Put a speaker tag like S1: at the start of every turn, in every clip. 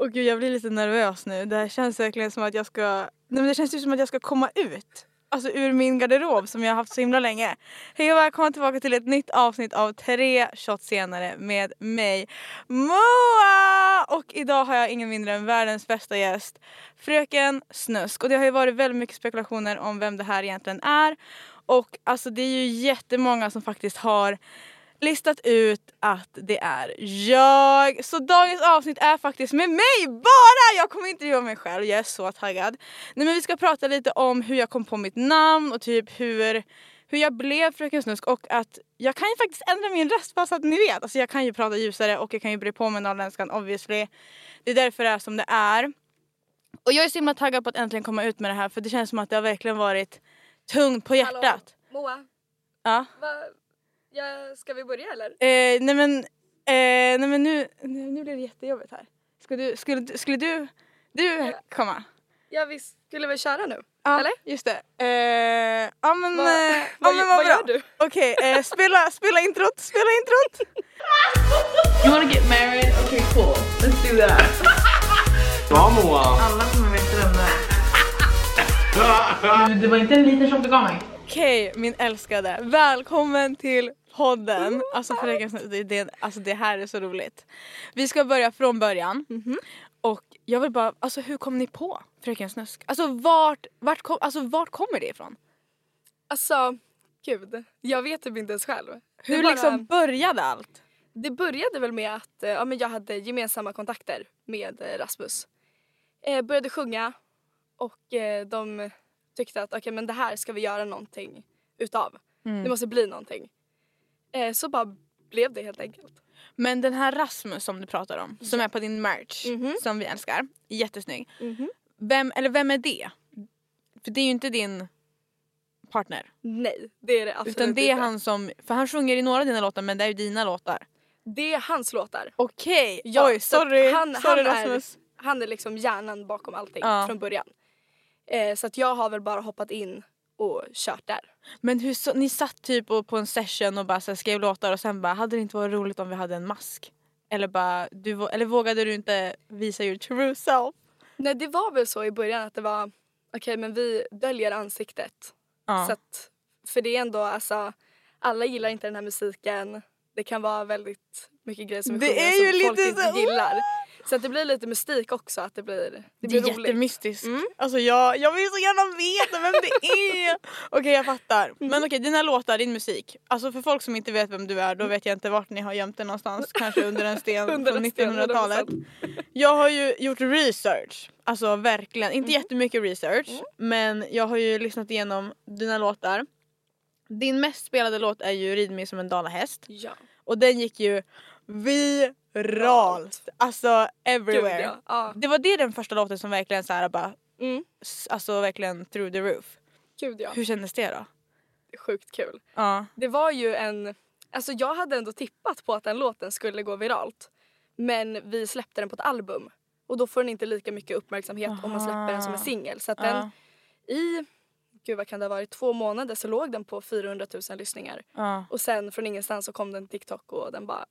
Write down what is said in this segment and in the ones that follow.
S1: Åh gud, jag blir lite nervös nu. Det här känns verkligen som att jag ska... Nej, men det känns ju som att jag ska komma ut. Alltså ur min garderob som jag har haft så himla länge. Hej och välkomna tillbaka till ett nytt avsnitt av Tre shots senare med mig Moa! Och idag har jag ingen mindre än världens bästa gäst. Fröken Snusk. Och det har ju varit väldigt mycket spekulationer om vem det här egentligen är. Och alltså det är ju jättemånga som faktiskt har listat ut att det är jag. Så dagens avsnitt är faktiskt med mig bara! Jag kommer intervjua mig själv, jag är så taggad. Nej men vi ska prata lite om hur jag kom på mitt namn och typ hur, hur jag blev Fröken Snusk och att jag kan ju faktiskt ändra min röst bara så att ni vet. Alltså jag kan ju prata ljusare och jag kan ju bre på mig norrländskan obviously. Det är därför det är som det är. Och jag är så himla taggad på att äntligen komma ut med det här för det känns som att det har verkligen varit tungt på hjärtat.
S2: Moa,
S1: Ja.
S2: va, ja, ska vi börja eller?
S1: Eh, nej men, eh, nej men nu, nu, nu blir det jättejobbigt här. Ska du, skulle, du- skulle du, du komma?
S2: Ja, vi skulle väl köra nu?
S1: Ja,
S2: Eller?
S1: just det. Eh, ja men,
S2: Vad-
S1: eh, ja,
S2: vad
S1: men
S2: gö-
S1: vad
S2: vad
S1: bra.
S2: gör du?
S1: Okej, eh, spela, spela introt, spela introt.
S3: You wanna get married? Okay, cool. Let's do that. Oh,
S4: Ja Moa!
S3: Alla kommer veta vem det är. Det var inte en liten tjock du gav mig.
S1: Okej min älskade, välkommen till podden. Alltså, fröken, Snusk, det, det, alltså det här är så roligt. Vi ska börja från början.
S2: Mhm.
S1: Och jag vill bara, alltså hur kom ni på Fröken Snusk? Alltså vart, vart, kom, alltså, vart kommer det ifrån?
S2: Alltså, gud. Jag vet typ inte ens själv. Det,
S1: Hur
S2: bara,
S1: liksom började allt?
S2: det började väl med att eh, ja, men jag hade gemensamma kontakter med eh, Rasmus. Eh, började sjunga och eh, de tyckte att okay, men det här ska vi göra någonting utav. Det måste bli någonting. Eh, så bara blev det helt enkelt.
S1: Men den här Rasmus som du pratar om, som är på din merch,
S2: Mhm.
S1: som vi älskar, jättesnygg. Vem, eller vem är det? För det är ju inte din partner.
S2: Nej, det är det absolut
S1: utan det är
S2: inte.
S1: han som, för han sjunger i några av dina låtar men det är ju dina låtar.
S2: Det är hans låtar.
S1: Okej,
S2: Ja,
S1: oj
S2: så att
S1: sorry.
S2: han-
S1: sorry
S2: han är-
S1: Rasmus.
S2: han är liksom hjärnan bakom allting
S1: Ja.
S2: från början. Eh, så att jag har väl bara hoppat in och kört där.
S1: Men hur, så, ni satt typ och, på en session och bara så här, skrev låtar och sen bara hade det inte varit roligt om vi hade en mask? Eller, bara, du, vå- eller vågade du inte visa your true self?
S2: Nej det var väl så i början att det var okej men vi döljer ansiktet.
S1: Ja.
S2: Så att, för det är ändå alltså alla gillar inte den här musiken. Det kan vara väldigt mycket grejer som vi
S1: Det
S2: sjunger
S1: är
S2: som
S1: ju
S2: folk
S1: lite
S2: inte
S1: så-
S2: gillar. Så att det blir lite mystik också att det blir, det
S1: Det,
S2: blir
S1: är
S2: roligt.
S1: jättemystiskt. Alltså jag, jag vill så gärna veta vem det är. okej jag fattar. Men okej dina låtar, din musik. Alltså för folk som inte vet vem du är då vet jag inte vart ni har gömt det någonstans. Kanske under en sten
S2: Under
S1: från
S2: en sten,
S1: 1900-talet. Jag har ju gjort research. Alltså verkligen. Inte jättemycket research. Men jag har ju lyssnat igenom dina låtar. Din mest spelade låt är ju Rid mig som en dalahäst.
S2: Ja,
S1: Och den gick ju viralt. Alltså
S2: gud
S1: everywhere.
S2: ja. ja.
S1: Det var det den första låten som verkligen så här bara
S2: Mm.
S1: s- alltså verkligen through the roof.
S2: Gud ja.
S1: Hur kändes det då?
S2: Sjukt kul.
S1: Ja.
S2: Det var ju en... Alltså jag hade ändå tippat på att den låten skulle gå viralt. Men vi släppte den på ett album. Och då får den inte lika mycket uppmärksamhet om man släpper den som en
S1: Aha.
S2: singel. Så att
S1: Ja.
S2: den i, gud vad kan det ha varit, två månader så låg den på 400 000 lyssningar.
S1: ja.
S2: Och sen från ingenstans så kom den TikTok och den bara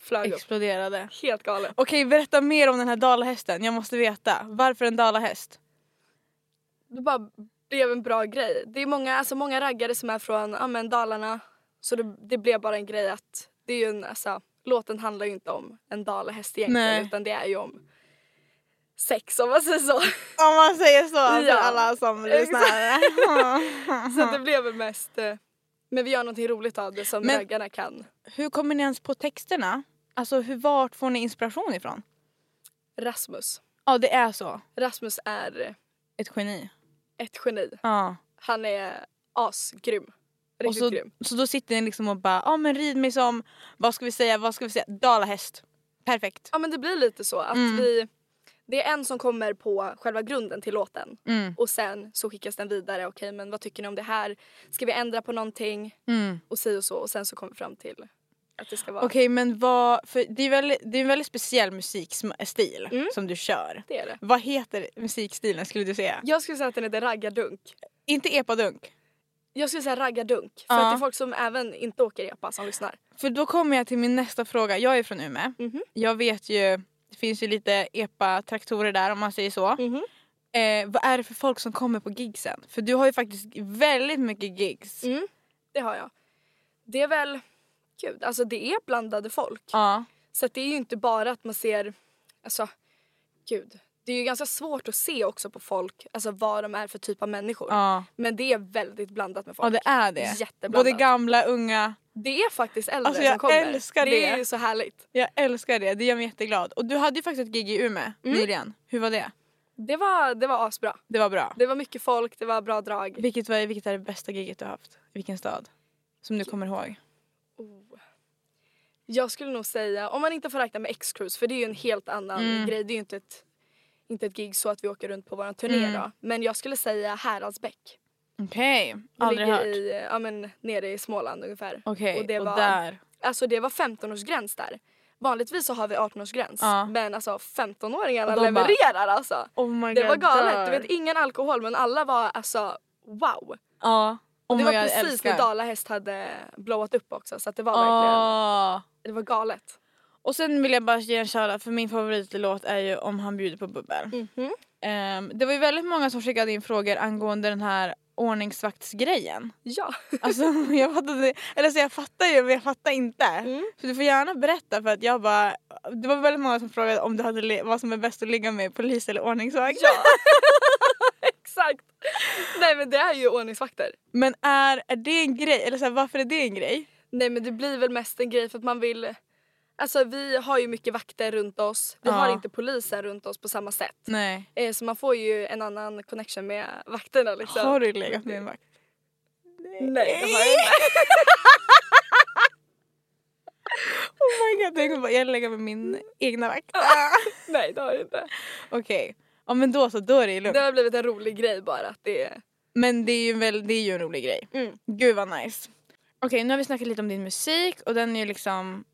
S2: flög upp.
S1: Exploderade.
S2: Helt galet.
S1: Okej, berätta mer om den här dalahästen. Jag måste veta. Varför en dalahäst?
S2: Det bara blev en bra grej. Det är många, alltså många raggare som är från ja, men Dalarna. Så det, det blev bara en grej att det är ju en, alltså, låten handlar ju inte om en dalahäst egentligen
S1: Nej.
S2: utan det är ju om sex om man säger så.
S1: Om man säger så för
S2: Ja.
S1: alla som
S2: Exakt.
S1: lyssnar.
S2: så det blev väl mest eh, men vi gör någonting roligt av det som
S1: Men-
S2: raggarna kan.
S1: hur kommer ni ens på texterna? Alltså hur, vart får ni inspiration ifrån?
S2: Rasmus.
S1: Ja, det är så.
S2: Rasmus är
S1: Ett geni.
S2: ett geni.
S1: Ja.
S2: Han är asgrym.
S1: Och
S2: Riktigt
S1: så,
S2: grym.
S1: så då sitter ni liksom och bara, ja men rid mig som, vad ska vi säga, vad ska vi säga, dalahäst. Perfekt.
S2: Ja men det blir lite så att
S1: Mm.
S2: vi, det är en som kommer på själva grunden till låten
S1: Mm.
S2: och sen så skickas den vidare. Okej men vad tycker ni om det här? Ska vi ändra på någonting?
S1: Mm.
S2: Och si och så och sen så kommer vi fram till att det ska vara
S1: Okej men vad, för det är, väl, det är en väldigt speciell musikstil
S2: Mm.
S1: som du kör.
S2: det. Är det.
S1: Vad heter musikstilen skulle du säga?
S2: Jag skulle säga att den heter raggardunk.
S1: Inte epadunk.
S2: Jag skulle säga raggardunk för
S1: Ja.
S2: att det är folk som även inte åker epa som lyssnar.
S1: För då kommer jag till min nästa fråga. Jag är från Umeå.
S2: Mhm.
S1: Jag vet ju, det finns ju lite epa-traktorer där om man säger så.
S2: Mhm.
S1: Eh, vad är det för folk som kommer på gigsen? För du har ju faktiskt väldigt mycket gigs.
S2: Mm. Det har jag. Det är väl, gud alltså det är blandade folk.
S1: Ja.
S2: Så att det är ju inte bara att man ser, alltså gud. Det är ju ganska svårt att se också på folk, alltså vad de är för typ av människor.
S1: Ja.
S2: Men det är väldigt blandat med folk.
S1: ja, det är det.
S2: Jätteblandat.
S1: Både gamla, unga.
S2: det är faktiskt äldre
S1: Alltså, jag
S2: som kommer.
S1: älskar
S2: det
S1: det.
S2: är ju så härligt.
S1: Jag älskar det, det gör mig jätteglad. Och du hade ju faktiskt ett gig i Umeå
S2: Mm.
S1: nyligen. Hur var det?
S2: Det var, det var asbra.
S1: Det var bra.
S2: Det var mycket folk, det var bra drag.
S1: Vilket, var, vilket är det bästa giget du har haft? I vilken stad? Som du kommer ihåg?
S2: Oh. Jag skulle nog säga, om man inte får räkna med X-Cruise för det är ju en helt annan
S1: Mm.
S2: grej. Det är ju inte ett, inte ett gig så att vi åker runt på våran turné
S1: Mm.
S2: då. Men jag skulle säga Häradsbäck.
S1: Okej,
S2: Det
S1: aldrig
S2: ligger
S1: hört.
S2: I, ja, men, nere i Småland ungefär.
S1: Okej,
S2: och det
S1: och
S2: var-
S1: där.
S2: Alltså det var 15-årsgräns där. Vanligtvis så har vi 18-årsgräns
S1: Ja.
S2: men alltså 15-åringarna
S1: Och de bara-
S2: levererar alltså.
S1: Oh my
S2: Det
S1: god,
S2: var galet. Du
S1: dör.
S2: vet ingen alkohol men alla var alltså wow.
S1: Ja. Oh my
S2: det var
S1: god, jag
S2: precis
S1: älskar.
S2: när Dalahäst hade blowat upp också så att det var verkligen,
S1: Ah.
S2: det var galet.
S1: Och sen vill jag bara ge en shoutout för min favoritlåt är ju Om han bjuder på bubbel.
S2: Mhm.
S1: Ehm, det var ju väldigt många som skickade in frågor angående den här ordningsvaktsgrejen.
S2: Ja.
S1: Alltså jag fattade, eller så jag fattar ju men jag fattar inte.
S2: Mm.
S1: Så du får gärna berätta för att jag bara, det var väldigt många som frågade om du hade le- vad som är bäst att ligga med, polis eller ordningsvakt.
S2: Ja. Exakt. Nej men det är ju ordningsvakter.
S1: Men är, är det en grej? Eller så här, varför är det en grej?
S2: Nej men det blir väl mest en grej för att man vill Alltså vi har ju mycket vakter runt oss. Vi
S1: Ja.
S2: har inte polisen runt oss på samma sätt.
S1: Nej.
S2: Eh, så man får ju en annan connection med vakterna liksom.
S1: Har du legat med en vakt?
S2: Nej det har jag inte.
S1: Oh my god, tänk om jag lägger med min egna vakt.
S2: Nej det har jag inte.
S1: Okej. Ja men då så, då är det ju lugnt.
S2: Det har blivit en rolig grej bara att det är...
S1: Men det är ju, väl, det är ju en rolig grej.
S2: Mm.
S1: Gud vad nice. Okej, nu har vi snackat lite om din musik och den är ju liksom...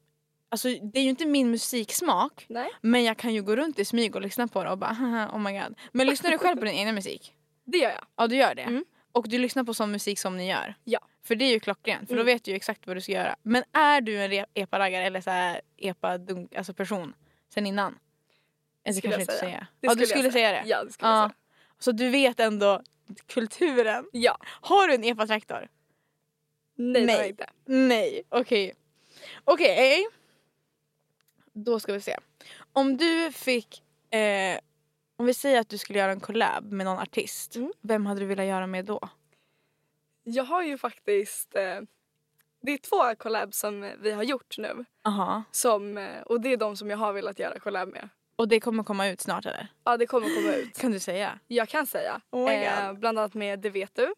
S1: Alltså det är ju inte min musiksmak
S2: Nej.
S1: men jag kan ju gå runt i smyg och lyssna på det och bara haha, oh my god. Men lyssnar du själv på din egna musik?
S2: Det gör jag.
S1: Ja du gör det.
S2: Mm.
S1: Och du lyssnar på sån musik som ni gör?
S2: Ja.
S1: För det är ju klockrent för då
S2: Mm.
S1: vet du ju exakt vad du ska göra. Men är du en re- epa-raggare eller så här epa-dunk, alltså person sen innan? Eller det
S2: Skulle
S1: kanske
S2: jag
S1: inte säga. ja Ah.
S2: säga. Det skulle
S1: du
S2: jag
S1: skulle säga det?
S2: Ja det skulle jag
S1: Ja.
S2: säga.
S1: Så du vet ändå kulturen?
S2: Ja.
S1: Har du en epa-traktor?
S2: Nej, det har
S1: Nej.
S2: jag inte.
S1: Nej, okej. Okej. Då ska vi se. Om du fick... Eh, om vi säger att du skulle göra en collab med någon artist.
S2: Mm.
S1: Vem hade du velat göra med då?
S2: Jag har ju faktiskt... Eh, det är två collabs som vi har gjort nu.
S1: Aha.
S2: Som, eh, och det är de som jag har velat göra collab med.
S1: Och det kommer komma ut snart eller?
S2: Ja det kommer komma ut.
S1: Kan du säga?
S2: Jag kan säga. Eh,
S1: Oh my God.
S2: bland annat med Det vet du.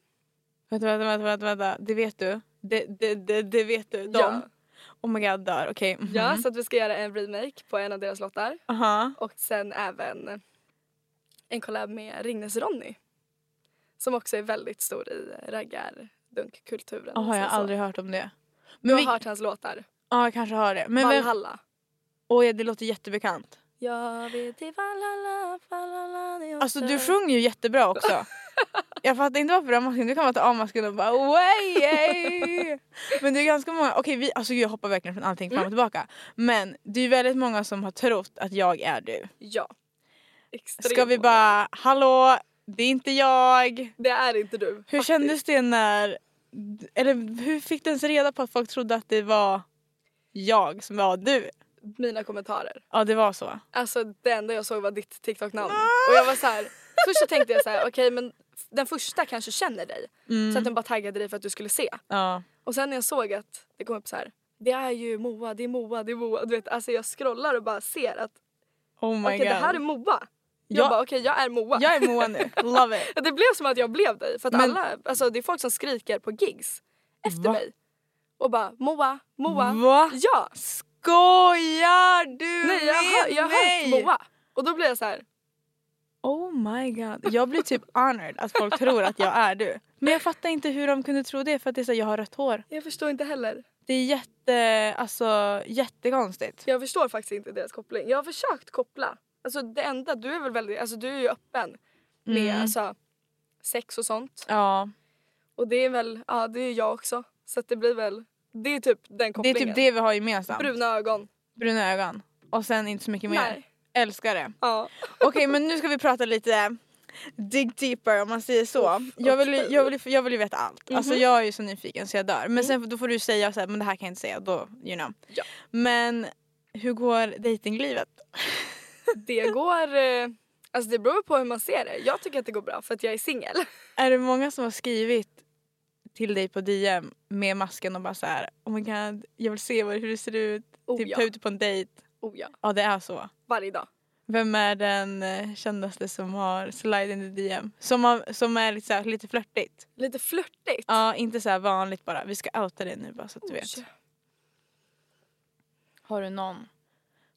S1: Vänta, vänta, vänta, vänta, vänta. det vet du. Det, det, det, det vet du. De.
S2: Ja.
S1: Oh my god, dör. Okej. mhm.
S2: ja så att vi ska göra en remake på en av deras låtar.
S1: Aha.
S2: Och sen även en collab med Ringnes Ronny. Som också är väldigt stor i raggardunkkulturen.
S1: Jaha, jag
S2: Så-
S1: har
S2: så.
S1: aldrig hört om det.
S2: Du
S1: Men
S2: har
S1: vi,
S2: hört hans låtar.
S1: Ja, jag kanske har det. Men vem,
S2: Valhalla.
S1: oh, ja, det låter jättebekant.
S2: Jag vill till Valhalla, Valhalla det är
S1: Alltså
S2: åter.
S1: du sjunger ju jättebra också. Jag fattar inte varför Amasken, du kan vara till Amasken och bara way, yay." Men det är ganska många, okej vi, alltså jag hoppar verkligen från allting
S2: Mm.
S1: fram och tillbaka. Men det är väldigt många som har trott att jag är du.
S2: Ja. Extremt.
S1: Ska vi bara, hallå, det är inte jag.
S2: Det är inte du.
S1: Hur
S2: faktiskt.
S1: kändes det när, eller hur fick du ens reda på att folk trodde att det var jag som var du?
S2: Mina kommentarer.
S1: Ja det var så.
S2: Alltså det enda jag såg var ditt TikTok-namn.
S1: Ah!
S2: Och jag var så här. Först så tänkte jag så här, okej men den första kanske känner dig. Så att den bara taggade dig för att du skulle se.
S1: Mm, Ja.
S2: Och sen när jag såg att det kom upp så här. Det är ju Moa, det är Moa, det är Moa. Du vet, alltså jag scrollar och bara ser att
S1: Oh my
S2: okej
S1: god.
S2: det här är Moa. Jag
S1: Ja.
S2: bara okej jag är Moa.
S1: jag är Moa nu, love it.
S2: Ja, Det blev som att jag blev dig. För att
S1: Men-
S2: alla, alltså, det är folk som skriker på gigs efter
S1: Va?
S2: mig. Och bara Moa, Moa.
S1: Va?
S2: Ja!
S1: Skojar du
S2: Nej jag, jag har hört
S1: nej.
S2: Moa. Och då blir jag så här,
S1: Oh my god. Jag blir typ honored att folk tror att jag är du. Men jag fattar inte hur de kunde tro det för att det är så här, jag har rött hår.
S2: jag förstår inte heller.
S1: Det är jätte, alltså jättekonstigt.
S2: Jag förstår faktiskt inte deras koppling. Jag har försökt koppla. Alltså det enda, du är väl väldigt, alltså du är ju öppen med
S1: Mm.
S2: alltså, sex och sånt.
S1: Ja,
S2: Och det är väl, ja det är jag också. Så att det blir väl, det är typ den
S1: det är
S2: kopplingen.
S1: typ det vi har gemensamt.
S2: Bruna ögon.
S1: Bruna ögon. Och sen inte så mycket mer.
S2: Nej.
S1: Älskar det.
S2: Ja.
S1: Okej men nu ska vi prata lite dig deeper om man säger så. Jag vill, ju- jag vill, ju- jag vill ju veta allt. Alltså
S2: Mhm.
S1: jag är ju så nyfiken så jag dör. Men sen då får du säga så här, men det här kan jag inte säga. Då, you know.
S2: Mm. Ja.
S1: Men hur går dejtinglivet?
S2: Det går, eh, alltså det beror på hur man ser det. Jag tycker att det går bra för att jag är singel.
S1: Är det många som har skrivit till dig på DM med masken och bara så här oh my god jag vill se vad- hur det ser ut.
S2: Oh,
S1: typ
S2: ja.
S1: ta ut dig på en dejt.
S2: Oh ja,
S1: Ja det är så.
S2: varje dag.
S1: Vem är den eh, kändaste som har slide in the DM? Som, har, som är lite, så här, lite flörtigt.
S2: Lite flörtigt.
S1: Ja, inte så här vanligt bara. Vi ska outa det nu bara så att du
S2: Oj.
S1: vet. Har du någon?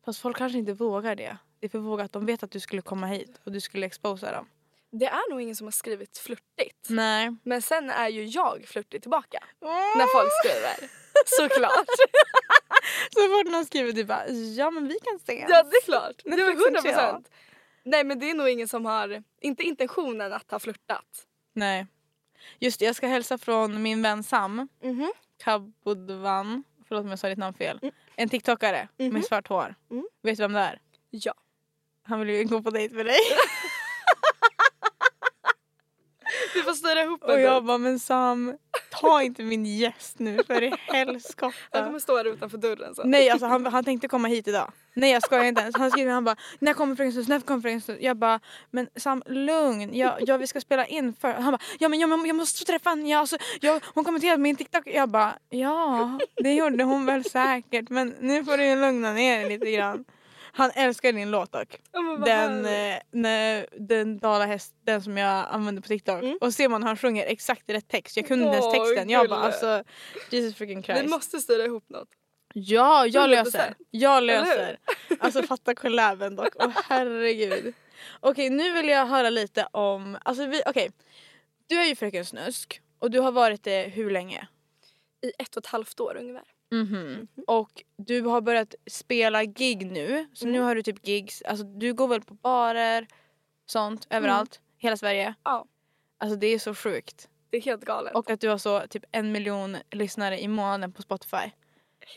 S1: Fast folk kanske inte vågar det. Det är för vågat. De vet att du skulle komma hit och du skulle exposa dem.
S2: Det är nog ingen som har skrivit flörtigt.
S1: Nej.
S2: Men sen är ju jag flörtig tillbaka när folk skriver. Såklart.
S1: Så fort någon skriver du bara ja men vi kan se.
S2: Ja det är klart. Det
S1: Men
S2: är
S1: faktiskt
S2: hundra
S1: inte jag.
S2: procent. Nej men det är nog ingen som har, inte intentionen att ha flörtat.
S1: Nej. Just det, jag ska hälsa från min vän Sam
S2: Mhm.
S1: Kabudvan. Förlåt om jag sa ditt namn fel. En tiktokare med svart hår.
S2: Mm.
S1: Vet du vem det är?
S2: Ja.
S1: Han vill ju gå på dejt med dig.
S2: Vi får styra ihop
S1: Och
S2: en
S1: jag
S2: dejt.
S1: bara men Sam ta inte min gäst nu för i
S2: Han
S1: helskotta.
S2: kommer stå här utanför dörren sen.
S1: Nej alltså han, han tänkte komma hit idag. Nej jag skojar inte ens. Han skrev han bara när kommer fröken Sus, när kommer fröken Sus? Jag bara men Sam lugn, jag, jag, vi ska spela in för. Han bara ja men jag, men jag måste träffa henne, jag, alltså, jag, hon kommenterade min TikTok. Jag bara ja det gjorde hon väl säkert men nu får du ju lugna ner dig lite grann. Han älskar din låt dock.
S2: Ja, men vad
S1: Den,
S2: härligt.
S1: eh, när, den dalahäst, den som jag använde på TikTok. Och ser man hur han sjunger exakt rätt text. Jag kunde inte ens
S2: Mm. Åh,
S1: texten. Jag bara
S2: gulle.
S1: alltså Jesus freaking
S2: Vi
S1: Christ.
S2: måste styra ihop något.
S1: Ja, jag
S2: 100%.
S1: löser. Jag
S2: Eller hur?
S1: löser. Alltså fatta collaben dock. Åh herregud. Okej nu vill jag höra lite om, alltså vi, okej. Du är ju fröken Snusk och du har varit det hur länge?
S2: I ett och ett halvt år ungefär.
S1: Mhm. Och du har börjat spela gig nu. Så
S2: Mm.
S1: nu har du typ gigs. Alltså du går väl på barer, sånt, överallt. Hela Sverige.
S2: Mm. Ja.
S1: Alltså det är så sjukt.
S2: Det är helt galet.
S1: Och att du har så typ en miljon lyssnare i månaden på Spotify.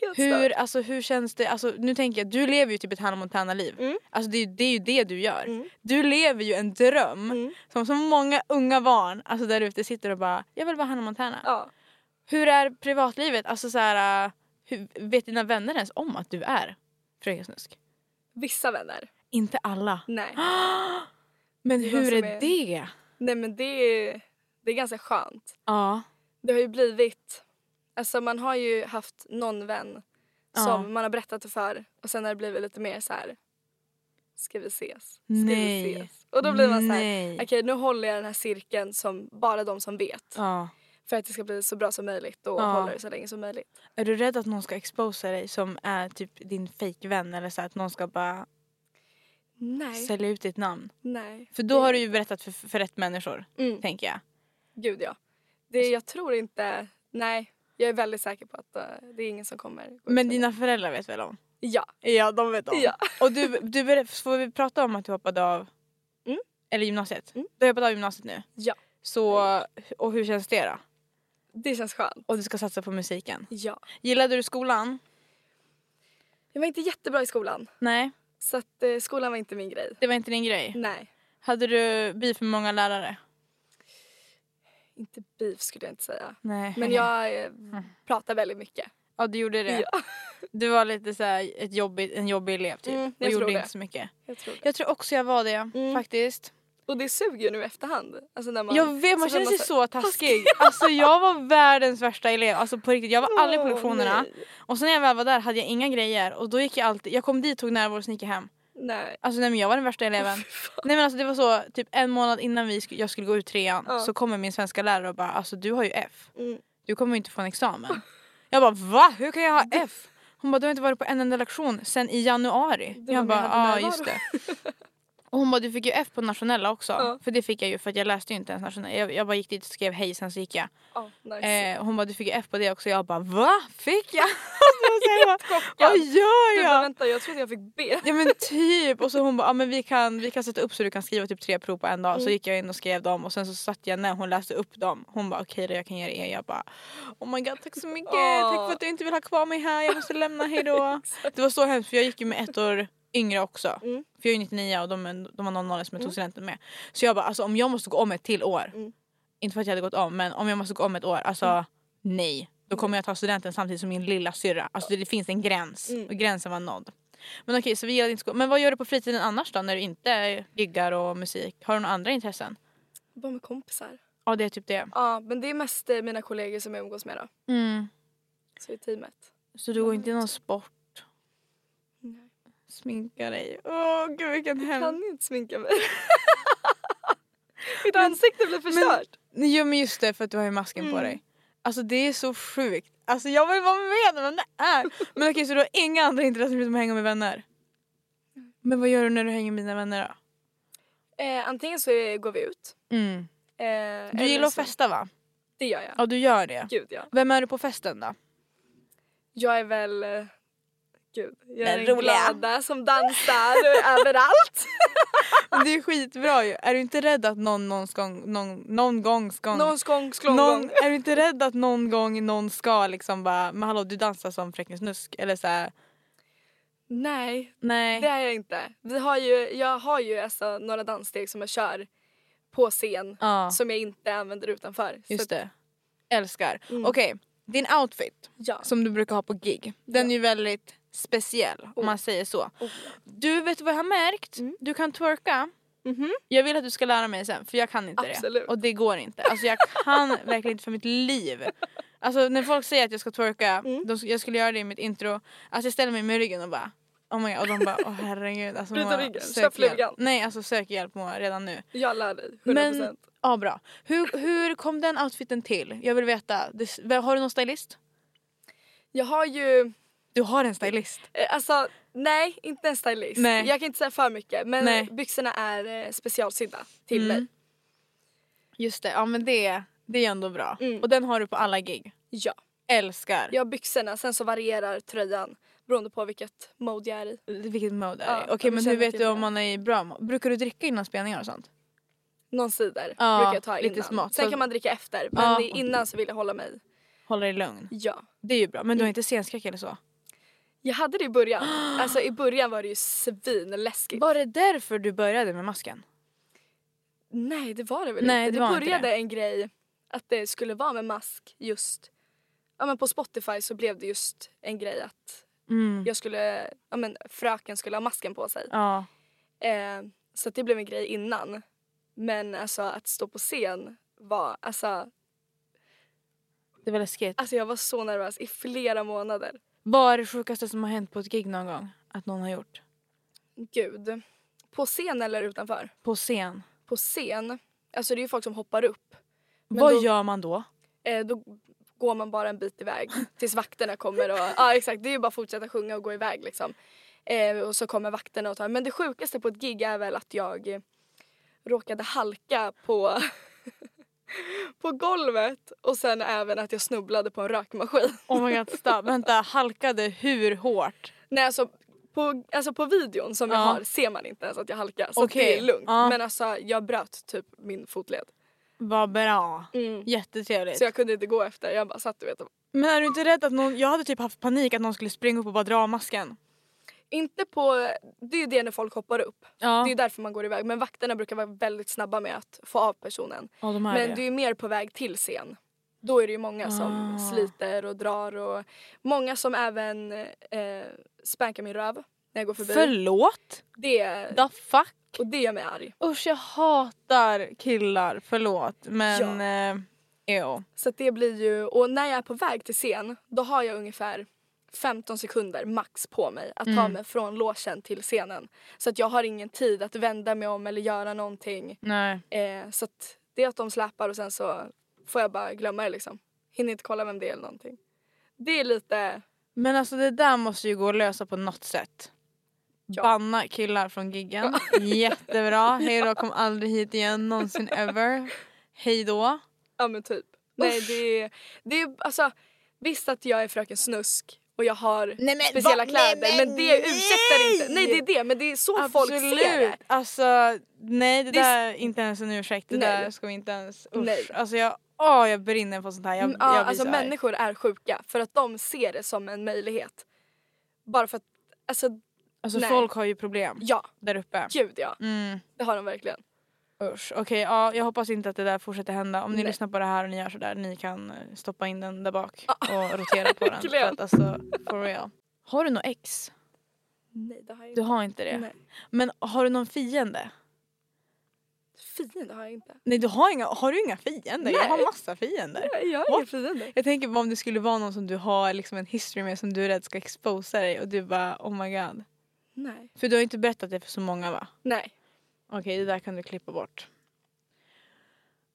S2: helt
S1: Hur,
S2: stört.
S1: alltså, hur känns det? Alltså, nu tänker jag, du lever ju typ ett Hannah Montana-liv.
S2: Mm.
S1: Alltså, det, är ju- det är ju det du gör.
S2: Mm.
S1: Du lever ju en dröm
S2: Mm.
S1: som så många unga barn alltså, där ute sitter och bara “jag vill vara Hannah Montana”.
S2: Ja.
S1: Hur är privatlivet? Alltså, så här, äh, hur, vet dina vänner ens om att du är Fröken Snusk?
S2: Vissa vänner.
S1: Inte alla.
S2: Nej.
S1: Men
S2: Det är de
S1: hur
S2: som
S1: är,
S2: är-
S1: det?
S2: Nej men det är, det är ganska skönt.
S1: Ja.
S2: Det har ju blivit... Alltså man har ju haft någon vän
S1: Ja.
S2: som man har berättat det för och sen har det blivit lite mer så här... Ska vi ses? Ska
S1: Nej.
S2: vi ses? Och då blir man så här...
S1: Nej.
S2: Okej, nu håller jag den här cirkeln som bara de som vet.
S1: Ja.
S2: För att det ska bli så bra som möjligt och
S1: Ja.
S2: hålla det så länge som möjligt.
S1: Är du rädd att någon ska exposa dig som är typ din fejkvän eller så här, att någon ska bara
S2: Nej.
S1: sälja ut ditt namn?
S2: Nej.
S1: För då har du ju berättat för, för rätt människor,
S2: Mm.
S1: tänker jag.
S2: Gud ja.
S1: Alltså-
S2: Det, jag tror inte... Nej. Jag är väldigt säker på att eh, det är ingen som kommer. gå ut
S1: Men
S2: med
S1: dina föräldrar vet väl om?
S2: Ja.
S1: Ja, de vet
S2: Ja.
S1: Och du, du ber- får vi prata om att du hoppade av
S2: Mm.
S1: eller gymnasiet?
S2: Mm.
S1: Du har hoppat av gymnasiet nu?
S2: Ja.
S1: Så, och hur känns det då?
S2: Det känns skönt.
S1: Och du ska satsa på musiken.
S2: Ja.
S1: Gillade du skolan?
S2: Jag var inte jättebra i skolan.
S1: Nej,
S2: Så att eh, skolan var inte min grej.
S1: det var inte din grej.
S2: Nej.
S1: Hade du beef med många lärare?
S2: Inte beef skulle jag inte säga.
S1: Nej.
S2: Men jag eh, pratar väldigt mycket.
S1: Ja, du gjorde det.
S2: Ja.
S1: Du var lite så här ett jobbigt, en jobbig elev typ.
S2: Mm,
S1: och
S2: jag
S1: gjorde
S2: tror
S1: inte
S2: det. Mm.
S1: så mycket.
S2: Jag tror det.
S1: Jag tror också jag var det faktiskt.
S2: Och det suger ju nu i efterhand. Alltså när man,
S1: Jag vet, man
S2: så när
S1: känner sig
S2: säger,
S1: så taskig. Alltså jag var världens värsta elev. Alltså på riktigt, jag var aldrig på
S2: "Åh,
S1: lektionerna.
S2: Nej.
S1: Och sen när jag väl var där hade jag inga grejer. Och då gick jag alltid, jag kom dit, tog närvaro och sen gick jag hem.
S2: nej.
S1: Alltså nej men jag var den värsta eleven. nej men alltså det var så, typ en månad innan vi sk- jag skulle gå ut trean
S2: Ja.
S1: så kommer min svenska lärare och bara alltså du har ju F.
S2: Mm.
S1: Du kommer ju inte få en examen. jag bara va? Hur kan jag ha F? Hon bara, du har inte varit på en enda lektion sen i januari.
S2: Det var
S1: jag
S2: min
S1: bara, ja ah,
S2: närvaro.
S1: just det. Och hon bara, du fick ju F på nationella också.
S2: Ja.
S1: För det fick jag ju för att jag läste ju inte ens nationella. Jag, jag bara gick dit och skrev hej sen så gick jag.
S2: Ja, nice.
S1: Eh, hon bara, du fick ju F på det också. Jag bara, va? Fick jag? Och så säger jag bara,
S2: Ja,
S1: Vad gör
S2: du bara,
S1: jag?
S2: vänta jag trodde jag fick B.
S1: Ja men typ. Och så hon bara, ah, men vi, kan, vi kan sätta upp så du kan skriva typ tre prov på en dag.
S2: Mm.
S1: Så gick jag in och skrev dem och sen så satt jag när hon läste upp dem. Hon bara, okej då jag kan ge dig en. Jag bara, oh my god tack så mycket.
S2: Åh.
S1: Tack för att du inte vill ha kvar mig här. Jag måste lämna, hejdå. det var så hemskt för jag gick ju med ett år yngre också.
S2: Mm.
S1: För jag är 99 och de, är- de var 00 som jag tog studenten med. Så jag bara, alltså om jag måste gå om ett till år.
S2: Mm.
S1: Inte för att jag hade gått om men om jag måste gå om ett år, alltså nej. Då kommer jag ta studenten samtidigt som min lilla syrra. Alltså det, det finns en gräns
S2: Mm.
S1: och gränsen var nådd. Men okej, så vi gillade inte skolan. Men vad gör du på fritiden annars då när du inte giggar och musik? Har du några andra intressen?
S2: Bara med kompisar.
S1: Ja, det är typ det.
S2: Ja men det är mest eh, mina kollegor som jag umgås med då. Så i teamet.
S1: Så du går inte i någon sport?
S2: Nej.
S1: Sminka dig? Åh gud vilken
S2: Jag
S1: hemsk...
S2: kan ju inte sminka mig. Mitt ansikte blir förstört.
S1: Jo men just det för att du har ju masken på
S2: Mm.
S1: dig. Alltså det är så sjukt. Alltså jag vill vara med om det är. Men okej så du har inga andra intressen förutom att hänga med vänner?
S2: Mm.
S1: Men vad gör du när du hänger med dina vänner
S2: Eh, antingen så eh, går vi ut.
S1: då? Mm.
S2: Eh,
S1: Du
S2: eller
S1: gillar att
S2: så-
S1: festa va?
S2: Det gör jag.
S1: Ja du gör det.
S2: Gud ja.
S1: Vem är du på festen då?
S2: Jag är väl... eh, Gud,
S1: Den
S2: jag är den
S1: roliga.
S2: glada som dansar överallt.
S1: Men Det är skitbra ju. Är du inte rädd att någon någon gång, någon, någon gång ska...
S2: Någon skång, sklång,
S1: någon,
S2: gång.
S1: är du inte rädd att någon gång någon ska liksom bara men hallå du dansar som Fräken Snusk eller såhär
S2: Nej,
S1: nej.
S2: det är jag inte. Vi har ju, jag har ju alltså några danssteg som jag kör på scen
S1: Ja
S2: som jag inte använder utanför. Så
S1: just
S2: att-
S1: det. Älskar.
S2: Mm.
S1: Okej din outfit
S2: Ja.
S1: som du brukar ha på gig den är ju väldigt speciell om
S2: Oh.
S1: man säger så.
S2: Oh.
S1: Du vet du vad jag har märkt?
S2: Mm.
S1: Du kan twerka.
S2: Mhm.
S1: Jag vill att du ska lära mig sen för jag kan inte det.
S2: Absolut.
S1: Och det går inte. Alltså jag kan verkligen inte för mitt liv. Alltså när folk säger att jag ska twerka,
S2: Mm.
S1: de, jag skulle göra det i mitt intro. Alltså jag ställer mig med ryggen och bara Oh my god, och de bara åh herregud. Alltså,
S2: Bryta
S1: Moa,
S2: ryggen,
S1: sök
S2: köp
S1: hjälp.
S2: flugan.
S1: Nej alltså sök hjälp Moa redan nu.
S2: Jag lär dig, 100%.
S1: Men- Ja bra. Hur, hur kom den outfiten till? Jag vill veta. Det, har du någon stylist?
S2: Jag har ju...
S1: Du har en stylist.
S2: eh, Alltså, nej, inte en stylist.
S1: Nej.
S2: Jag kan inte säga för mycket men
S1: Nej.
S2: byxorna är eh, specialsydda till
S1: Mm.
S2: mig.
S1: Just det, ja men det, det är ändå bra.
S2: Mm.
S1: Och den har du på alla gig.
S2: Ja.
S1: Älskar.
S2: Jag har byxorna, sen så varierar tröjan beroende på vilket mode jag är i.
S1: Vilket mode är
S2: Ja,
S1: typ det? Okej
S2: ja, vi
S1: men hur
S2: känner
S1: vet
S2: till
S1: du om
S2: det.
S1: man är i bra mode? Brukar du dricka innan spelningar och sånt?
S2: Någon cider
S1: Ja,
S2: brukar jag ta
S1: lite
S2: innan.
S1: smått. Så-
S2: Sen kan man dricka efter men
S1: Ja.
S2: det- innan så vill jag hålla mig.
S1: Håller dig lugn.
S2: Ja.
S1: Det är ju bra. Men du har inte scenskräck eller så?
S2: Jag hade det i början. Alltså i början var det ju svinläskigt.
S1: Var det därför du började med masken?
S2: Nej det var det väl
S1: Nej,
S2: inte.
S1: det var inte
S2: började
S1: det.
S2: en grej att det skulle vara med mask just Ja men på Spotify så blev det just en grej att
S1: Mm.
S2: jag skulle, ja men fröken skulle ha masken på sig.
S1: Ja.
S2: Eh, så att det blev en grej innan. Men alltså att stå på scen var, alltså,
S1: Det var läskigt.
S2: alltså jag var så nervös i flera månader.
S1: Vad är det sjukaste som har hänt på ett gig någon gång? Att någon har gjort?
S2: Gud. På scen eller utanför?
S1: På scen.
S2: På scen. Alltså det är ju folk som hoppar upp. Men
S1: Vad
S2: då-
S1: gör man då?
S2: Eh, då går man bara en bit iväg tills vakterna kommer. Och, ja exakt, det är ju bara att fortsätta sjunga och gå iväg liksom. Eh, och så kommer vakterna och tar. Men det sjukaste på ett gig är väl att jag eh, råkade halka på, på golvet och sen även att jag snubblade på en rökmaskin.
S1: Oh my god stop. Vänta, halkade hur hårt?
S2: Nej alltså på, alltså på videon som jag
S1: Ja.
S2: har ser man inte ens att jag halkar så
S1: Okej,
S2: det är lugnt.
S1: ja.
S2: Men alltså jag bröt typ min fotled.
S1: Vad bra.
S2: Mm.
S1: Jättetrevligt.
S2: Så jag kunde inte gå efter. Jag bara satt du vet. och-
S1: Men är du inte rädd att någon... Jag hade typ haft panik att någon skulle springa upp och bara dra masken.
S2: Inte på, det är ju det när folk hoppar upp.
S1: Ja.
S2: Det är ju därför man går iväg. Men vakterna brukar vara väldigt snabba med att få av personen.
S1: Ja, de är
S2: Men
S1: det.
S2: du är ju mer på väg till scen. Då är det ju många som
S1: Ah.
S2: sliter och drar och många som även eh, spankar min röv när jag går förbi.
S1: Förlåt?
S2: Det,
S1: The fuck?
S2: och det gör mig arg.
S1: Usch jag hatar killar, förlåt. Men... Ja. Eh, ew.
S2: Så att det blir ju, och när jag är på väg till scen då har jag ungefär 15 sekunder max på mig att ta
S1: Mm.
S2: mig från logen till scenen. Så att jag har ingen tid att vända mig om eller göra någonting.
S1: Nej.
S2: Eh, så att det är att de släpar och sen så får jag bara glömma det liksom. Hinner inte kolla vem det är eller någonting. Det är lite
S1: Men alltså det där måste ju gå att lösa på något sätt.
S2: Ja.
S1: Banna killar från giggen. Jättebra. Hej då, kom aldrig hit igen någonsin ever. Hej då.
S2: Ja men typ. Nej det är, det är alltså visst att jag är fröken Snusk och jag har speciella kläder men det ursäktar inte. Nej det är det men det är så folk ser det.
S1: Absolut. Alltså nej det,
S2: Det är
S1: där är inte ens en ursäkt. Det
S2: Nej.
S1: där ska vi inte ens. Usch.
S2: Nej.
S1: Alltså jag, åh, jag brinner på sånt här. Jag,
S2: Mm,
S1: jag
S2: ja,
S1: blir
S2: alltså
S1: så arg.
S2: människor är sjuka för att de ser det som en möjlighet. Bara för att, alltså
S1: Alltså
S2: Nej.
S1: folk har ju problem
S2: ja,
S1: där uppe.
S2: gud ja.
S1: Mm,
S2: Det har de verkligen.
S1: usch. Okej, ja, jag hoppas inte att det där fortsätter hända. Om ni
S2: Nej.
S1: lyssnar på det här och ni gör sådär, ni kan eh, stoppa in den där bak
S2: Ah.
S1: och rotera på den. För
S2: verkligen.
S1: att, alltså, for real. Har du något ex?
S2: Nej det har jag
S1: Du
S2: inte.
S1: har inte det.
S2: Nej.
S1: Men har du någon fiende?
S2: Fiende har jag inte.
S1: Nej, du har inga, har du inga fiender? Jag
S2: Nej.
S1: har massa fiender.
S2: Nej, Jag har
S1: What?
S2: ingen fiende.
S1: Jag tänker bara om det skulle vara någon som du har liksom en history med som du är rädd ska exposa dig och du bara oh my god.
S2: Nej.
S1: För du har ju inte berättat det för så många va?
S2: Nej.
S1: Okej, det där kan du klippa bort.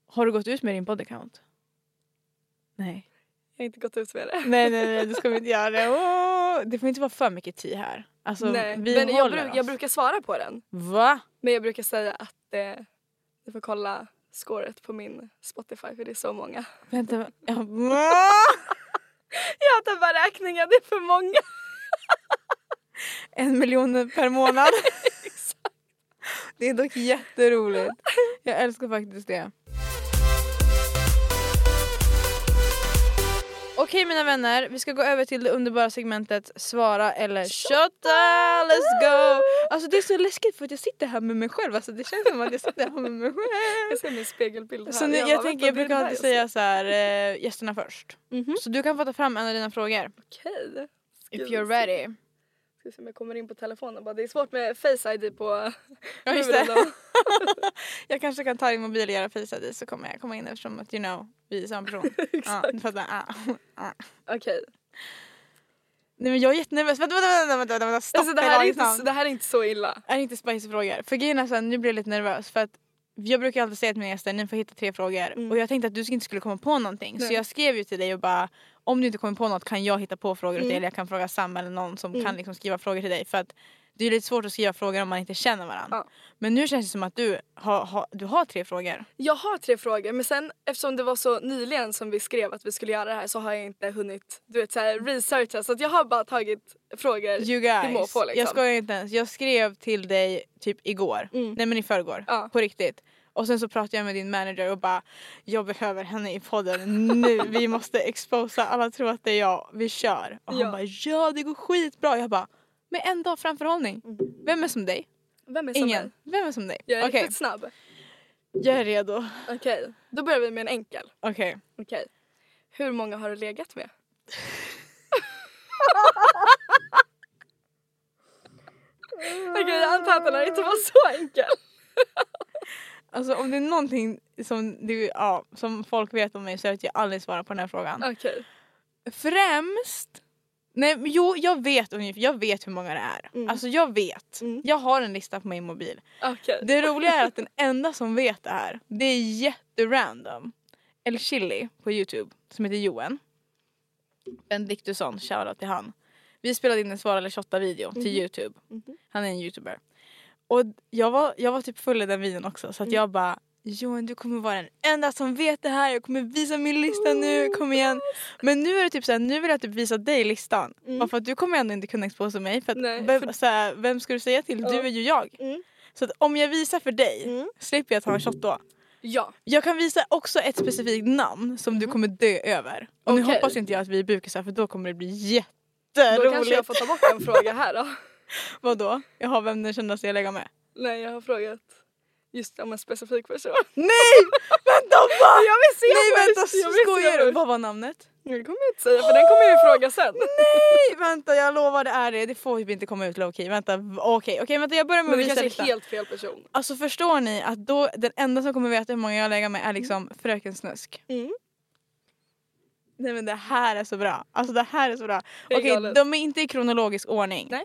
S1: Har du gått ut med din bodycount? Nej.
S2: Jag har inte gått ut med det.
S1: Nej, nej, nej, det ska vi inte göra. Det, Åh, det får inte vara för mycket tid här. Alltså,
S2: Nej.
S1: vi
S2: Men jag,
S1: håller
S2: bru-
S1: oss.
S2: jag brukar svara på den.
S1: Va?
S2: Men jag brukar säga att eh, du får kolla scoret på min Spotify för det är så många.
S1: Vänta. Jag...
S2: Jag tappar räkningen, det är för många.
S1: En miljon per månad.
S2: Exakt.
S1: Det är dock jätteroligt. Jag älskar faktiskt det. Okej mina vänner, vi ska gå över till det underbara segmentet svara eller kötta. Let's go! Alltså det är så läskigt för att jag sitter här med mig själv. Alltså det känns som att jag sitter här med mig själv.
S2: Jag ser min spegelbild här.
S1: Så nu, jag,
S2: bara,
S1: tänker,
S2: vänta,
S1: jag
S2: det
S1: brukar
S2: är det
S1: alltid
S2: där jag
S1: säga så här, eh, gästerna först.
S2: Mhm.
S1: Så du kan få ta fram en av dina frågor.
S2: ser. Okej.
S1: If
S2: Gud,
S1: you're ready.
S2: Ska vi se om jag kommer in på telefonen bara. Det är svårt med face ID på
S1: Ja, just
S2: luren
S1: det.
S2: då.
S1: Jag kanske kan ta din mobil och göra face ID så kommer jag komma in eftersom att you know, vi är samma person. Ja,
S2: Exakt.
S1: du fattar. Ah.
S2: Okej.
S1: Nej men jag är jättenervös. Vänta, vänta, vänta, vänta, vänta, vänta. stopp
S2: Alltså, det,
S1: i
S2: här är
S1: lagens
S2: inte,
S1: namn.
S2: så- det här är inte så illa.
S1: Är det inte spicy-frågor? För grejen är så här, nu blir jag lite nervös för att jag brukar alltid säga till mina gäster, ni får hitta tre frågor.
S2: Mm.
S1: Och jag tänkte att du inte skulle komma på någonting. Så
S2: Nej.
S1: jag skrev ju till dig och bara, om du inte kommer på något kan jag hitta på frågor åt dig
S2: Mm.
S1: eller jag kan fråga Sam eller någon som
S2: Mm.
S1: kan liksom skriva frågor till dig. För att det är lite svårt att skriva frågor om man inte känner varandra.
S2: Ja.
S1: Men nu känns det som att du har, har, du har tre frågor.
S2: Jag har tre frågor men sen eftersom det var så nyligen som vi skrev att vi skulle göra det här så har jag inte hunnit du vet, så här, researcha så att jag har bara tagit frågor
S1: You
S2: till
S1: guys,
S2: måfå. Liksom.
S1: jag skojar inte ens. Jag skrev till dig typ igår.
S2: Mm.
S1: Nej men i förrgår.
S2: Ja.
S1: På riktigt. Och sen så pratade jag med din manager och bara jag behöver henne i podden nu. Vi måste exposa. Alla tror att det är jag. Vi kör. Och han
S2: Ja.
S1: bara ja det går skitbra. Jag bara med en dag framförhållning. Vem är som dig?
S2: Vem Mm. är som
S1: Ingen.
S2: är?
S1: Vem är som dig?
S2: Jag är
S1: Okej,
S2: riktigt snabb.
S1: jag är redo.
S2: Okej, då börjar vi med en enkel.
S1: Okej.
S2: Okej. Hur många har du legat med? Okej, jag antar att den här inte var så enkel.
S1: Alltså om det är någonting som, du, ja, som folk vet om mig så är det att jag aldrig svarar på den här frågan.
S2: Okej.
S1: Främst... Nej, men jo, jag vet, ungefär- jag vet hur många det är.
S2: Mm.
S1: Alltså jag vet.
S2: Mm.
S1: Jag har en lista på min mobil.
S2: Okej.
S1: Det roliga är att den enda som vet det här, det är jätterandom. El Chili på Youtube, som heter Johan. Benediktusson, shoutout till han. Vi spelade in en Svara eller shotta-video till Youtube.
S2: Mhm.
S1: Han är en youtuber. Och jag var, jag var typ full i den videon också
S2: Mm.
S1: så att jag bara Johan du kommer vara den enda som vet det här, jag kommer visa min lista nu, kom igen. Men nu är det typ såhär, nu vill jag typ visa dig listan.
S2: Mm.
S1: Bara för att du kommer ändå inte kunna exposa mig för att
S2: Nej,
S1: vem,
S2: för-
S1: såhär, vem ska du säga till? Du
S2: Ja.
S1: är ju jag.
S2: Mm.
S1: Så att om jag visar för dig
S2: Mm.
S1: slipper jag ta en shot då.
S2: Ja,
S1: Jag kan visa också ett specifikt namn som du kommer dö över. Och nu
S2: Mm. Okej.
S1: hoppas inte jag att vi är bukisar för då kommer det bli
S2: då kanske jag
S1: jätteroligt.
S2: får ta bort en fråga här då.
S1: Vadå? Jag har vem den kändaste jag lägger med.
S2: Nej, jag har frågat just om en specifik person.
S1: Nej! Vänta va?
S2: Jag vill se
S1: Nej vänta
S2: först, jag vill se
S1: skojar du?
S2: först.
S1: Vad var namnet?
S2: Det kommer jag inte säga för den kommer jag ju fråga sen.
S1: Nej vänta jag lovar det är det. Det får ju inte komma ut lowkey. Vänta v- okej okej vänta jag börjar med
S2: Men det
S1: att visa
S2: kanske är
S1: listan.
S2: helt fel person.
S1: Alltså förstår ni att då den enda som kommer veta hur många jag lägger med är liksom fröken Snusk.
S2: Mm.
S1: Nej men det här är så bra. Alltså det här är så bra.
S2: Det är
S1: Okej
S2: galet.
S1: de är inte i kronologisk ordning.
S2: Nej.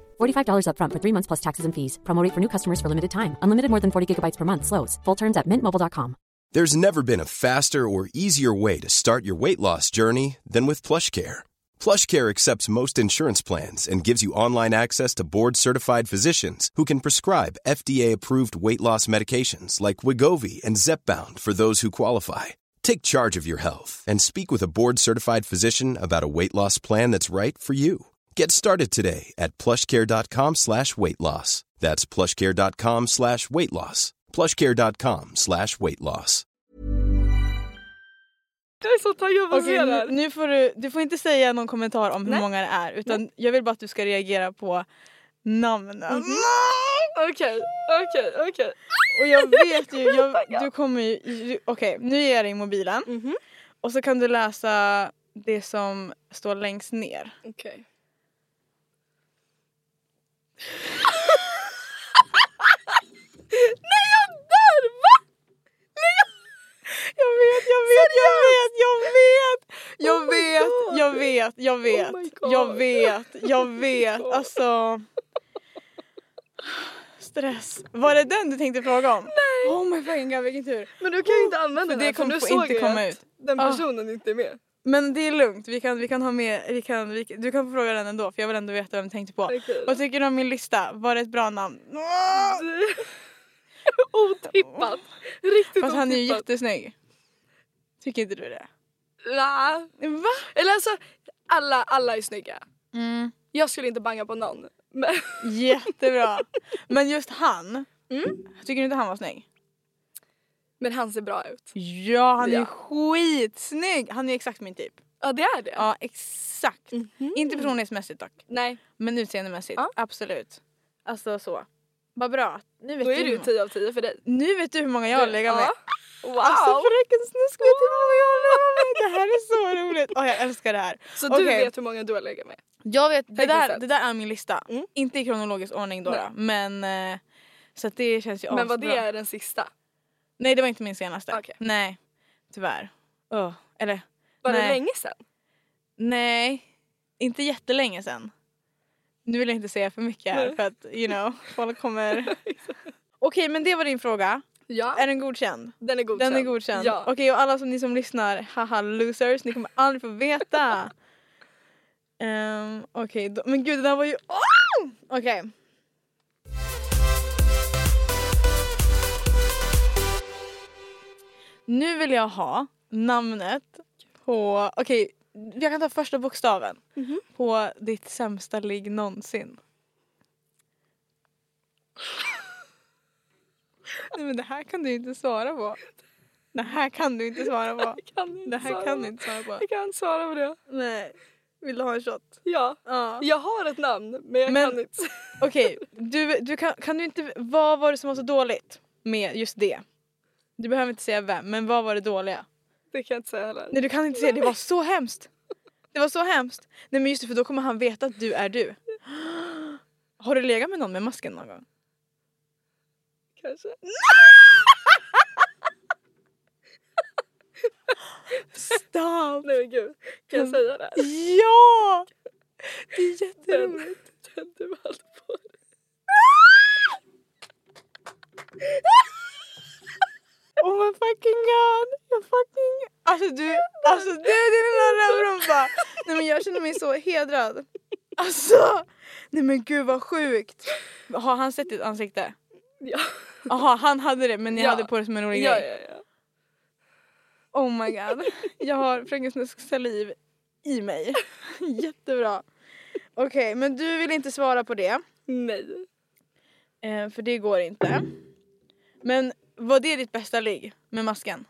S5: $45 upfront for three months plus taxes and fees. Promo rate for new customers for limited time. Unlimited more than 40 gigabytes per month. Slows. Full terms at mintmobile.com.
S6: There's never been a faster or easier way to start your weight loss journey than with PlushCare. PlushCare accepts most insurance plans and gives you online access to board-certified physicians who can prescribe FDA-approved weight loss medications like Wigovi and Zepbound for those who qualify. Take charge of your health and speak with a board-certified physician about a weight loss plan that's right for you. Get started today at plushcare.com slash weight loss. That's plushcare.com slash weight loss. Plushcare.com slash weight loss.
S2: Jag är så taggad på att
S1: Okej,
S2: se det
S1: nu,
S2: här.
S1: nu får du, du får inte säga någon kommentar om hur
S2: Nej.
S1: många det är utan jag vill bara att du ska reagera på namnen.
S2: Mhm. Okej, okej, okej.
S1: Och jag vet ju, jag, du kommer ju... ju- Okej, nu ger jag dig mobilen
S2: Mhm.
S1: och så kan du läsa det som står längst ner.
S2: Okej. Nej jag dör! Va? Nej jag...
S1: Jag vet, jag vet, jag vet, jag vet! Jag
S2: Oh my
S1: vet,
S2: God. Oh
S1: jag vet, jag vet,
S2: my
S1: jag
S2: God. Oh
S1: vet, jag vet.
S2: God.
S1: Alltså... Stress. Var det den du tänkte fråga om? Nej! Oh my fucking god vilken tur.
S2: Men du kan ju inte använda
S1: Oh, För
S2: den
S1: det
S2: här, för
S1: kommer
S2: nu
S1: få
S2: såg
S1: inte
S2: jag
S1: komma
S2: att
S1: ut.
S2: den
S1: Ah.
S2: personen inte är med.
S1: Men det är lugnt, vi kan, vi kan ha med, vi kan, vi, du kan få fråga den ändå för jag vill ändå veta vem du tänkte på.
S2: Okej.
S1: Vad tycker du om min lista? Var det ett bra namn? Ah.
S2: otippat. Riktigt
S1: Fast han är ju
S2: otippat.
S1: jättesnygg. Tycker inte du det?
S2: Nja.
S1: Va?
S2: Eller alltså, alla, alla är snygga.
S1: Mm.
S2: Jag skulle inte banga på någon. Men,
S1: Jättebra. Men just han. Tycker du inte han var snygg?
S2: men han ser bra ut.
S1: Ja han är ju
S2: Ja.
S1: skitsnygg. Han är ju exakt min typ.
S2: Ja det är det.
S1: Ja exakt. Inte personlighetsmässigt dock.
S2: Nej,
S1: Men utseendemässigt.
S2: Ja.
S1: Absolut. Alltså så. Vad bra. Nu vet,
S2: då
S1: du,
S2: är det
S1: hur
S2: ju
S1: många-
S2: 10 av 10 för dig.
S1: typ- nu vet du hur många jag har legat med.
S2: Ja. Wow!
S1: Alltså fräken snusk vet du hur många jag har legat med. Det här är så roligt. Åh jag älskar det här.
S2: så du
S1: okej.
S2: vet hur många du har legat med?
S1: Jag vet, det,
S2: Tekniskt
S1: där,
S2: sett.
S1: det där är min lista.
S2: Mm.
S1: Inte i kronologisk ordning då, då men eh, så att det känns ju
S2: men vad det
S1: asbra.
S2: är den sista?
S1: Nej det var inte min senaste.
S2: Okej.
S1: Nej, tyvärr. Öh, Eller
S2: Var det
S1: Nej.
S2: länge sedan?
S1: nej, inte jättelänge sen. Nu vill jag inte säga för mycket här
S2: Nej.
S1: för att you know, folk kommer... Okej men det var din fråga.
S2: Ja,
S1: Är den godkänd?
S2: den är godkänd.
S1: Den är godkänd.
S2: Ja.
S1: Okej och alla som, ni som lyssnar, haha losers, ni kommer aldrig få veta. Ehm, Okej, då- men gud det där var ju... Oh! Okej. Nu vill jag ha namnet på... Okej, jag kan ta första bokstaven. På ditt sämsta ligg någonsin. Nej men det här kan du inte svara på. Det här kan du inte svara på.
S2: Kan inte
S1: Det här
S2: svara
S1: kan
S2: på.
S1: du inte svara på.
S2: Jag kan inte svara på det.
S1: Nej. Vill du ha en shot?
S2: Ja.
S1: Ja.
S2: Jag har ett namn men jag
S1: Men-
S2: kan inte.
S1: Okej, du, du kan, kan du inte... Vad var det som var så dåligt med just det? Du behöver inte säga vem, men vad var det dåliga?
S2: Det kan jag inte säga heller.
S1: Nej du kan inte säga det var så hemskt. Det var så hemskt. Nej men just det för då kommer han veta att du är du. Har du legat med någon med masken någon gång?
S2: Kanske.
S1: Stopp!
S2: Nej men gud. Kan jag säga det här?
S1: Ja! Det är
S2: Den,
S1: jätteroligt.
S2: den du hade på dig.
S1: Oh my fucking god! Jag fucking... Alltså du, alltså du din lilla rövrumpa! Nej men jag känner mig så hedrad. Alltså! Nej men gud vad sjukt! Har han sett ditt ansikte?
S2: Ja.
S1: Jaha han hade det men ni
S2: Ja.
S1: hade på det som en rolig
S2: ja,
S1: grej.
S2: ja, ja.
S1: Oh my god. Jag har Fröken Snusks saliv i mig. Jättebra. Okej men du vill inte svara på det.
S2: Nej.
S1: Eh, för det går inte. Men var det ditt bästa ligg med masken?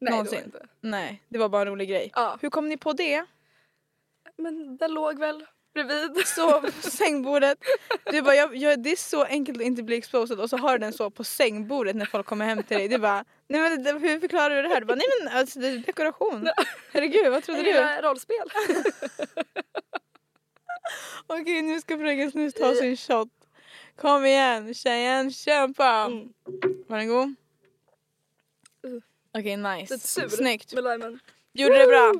S2: Nej
S1: Någonsin.
S2: det var inte.
S1: Nej, det var bara en rolig grej.
S2: Ja.
S1: Hur kom ni på det?
S2: Men den låg väl bredvid.
S1: Så på sängbordet. Du bara, jag, jag, det är så enkelt att inte bli exposed och så har du den så på sängbordet när folk kommer hem till dig. Du bara, nej men det- hur förklarar du det här? Du bara, nej men alltså, det är dekoration. Herregud vad trodde
S2: Det
S1: du?
S2: är rollspel.
S1: Okej nu ska fröken Snus ta sin shot. Kom igen tjejen, kämpa!
S2: Mm.
S1: Var den god?
S2: Uh.
S1: Okej
S2: Lite sur.
S1: nice, snyggt.
S2: Med limen.
S1: Gjorde det bra.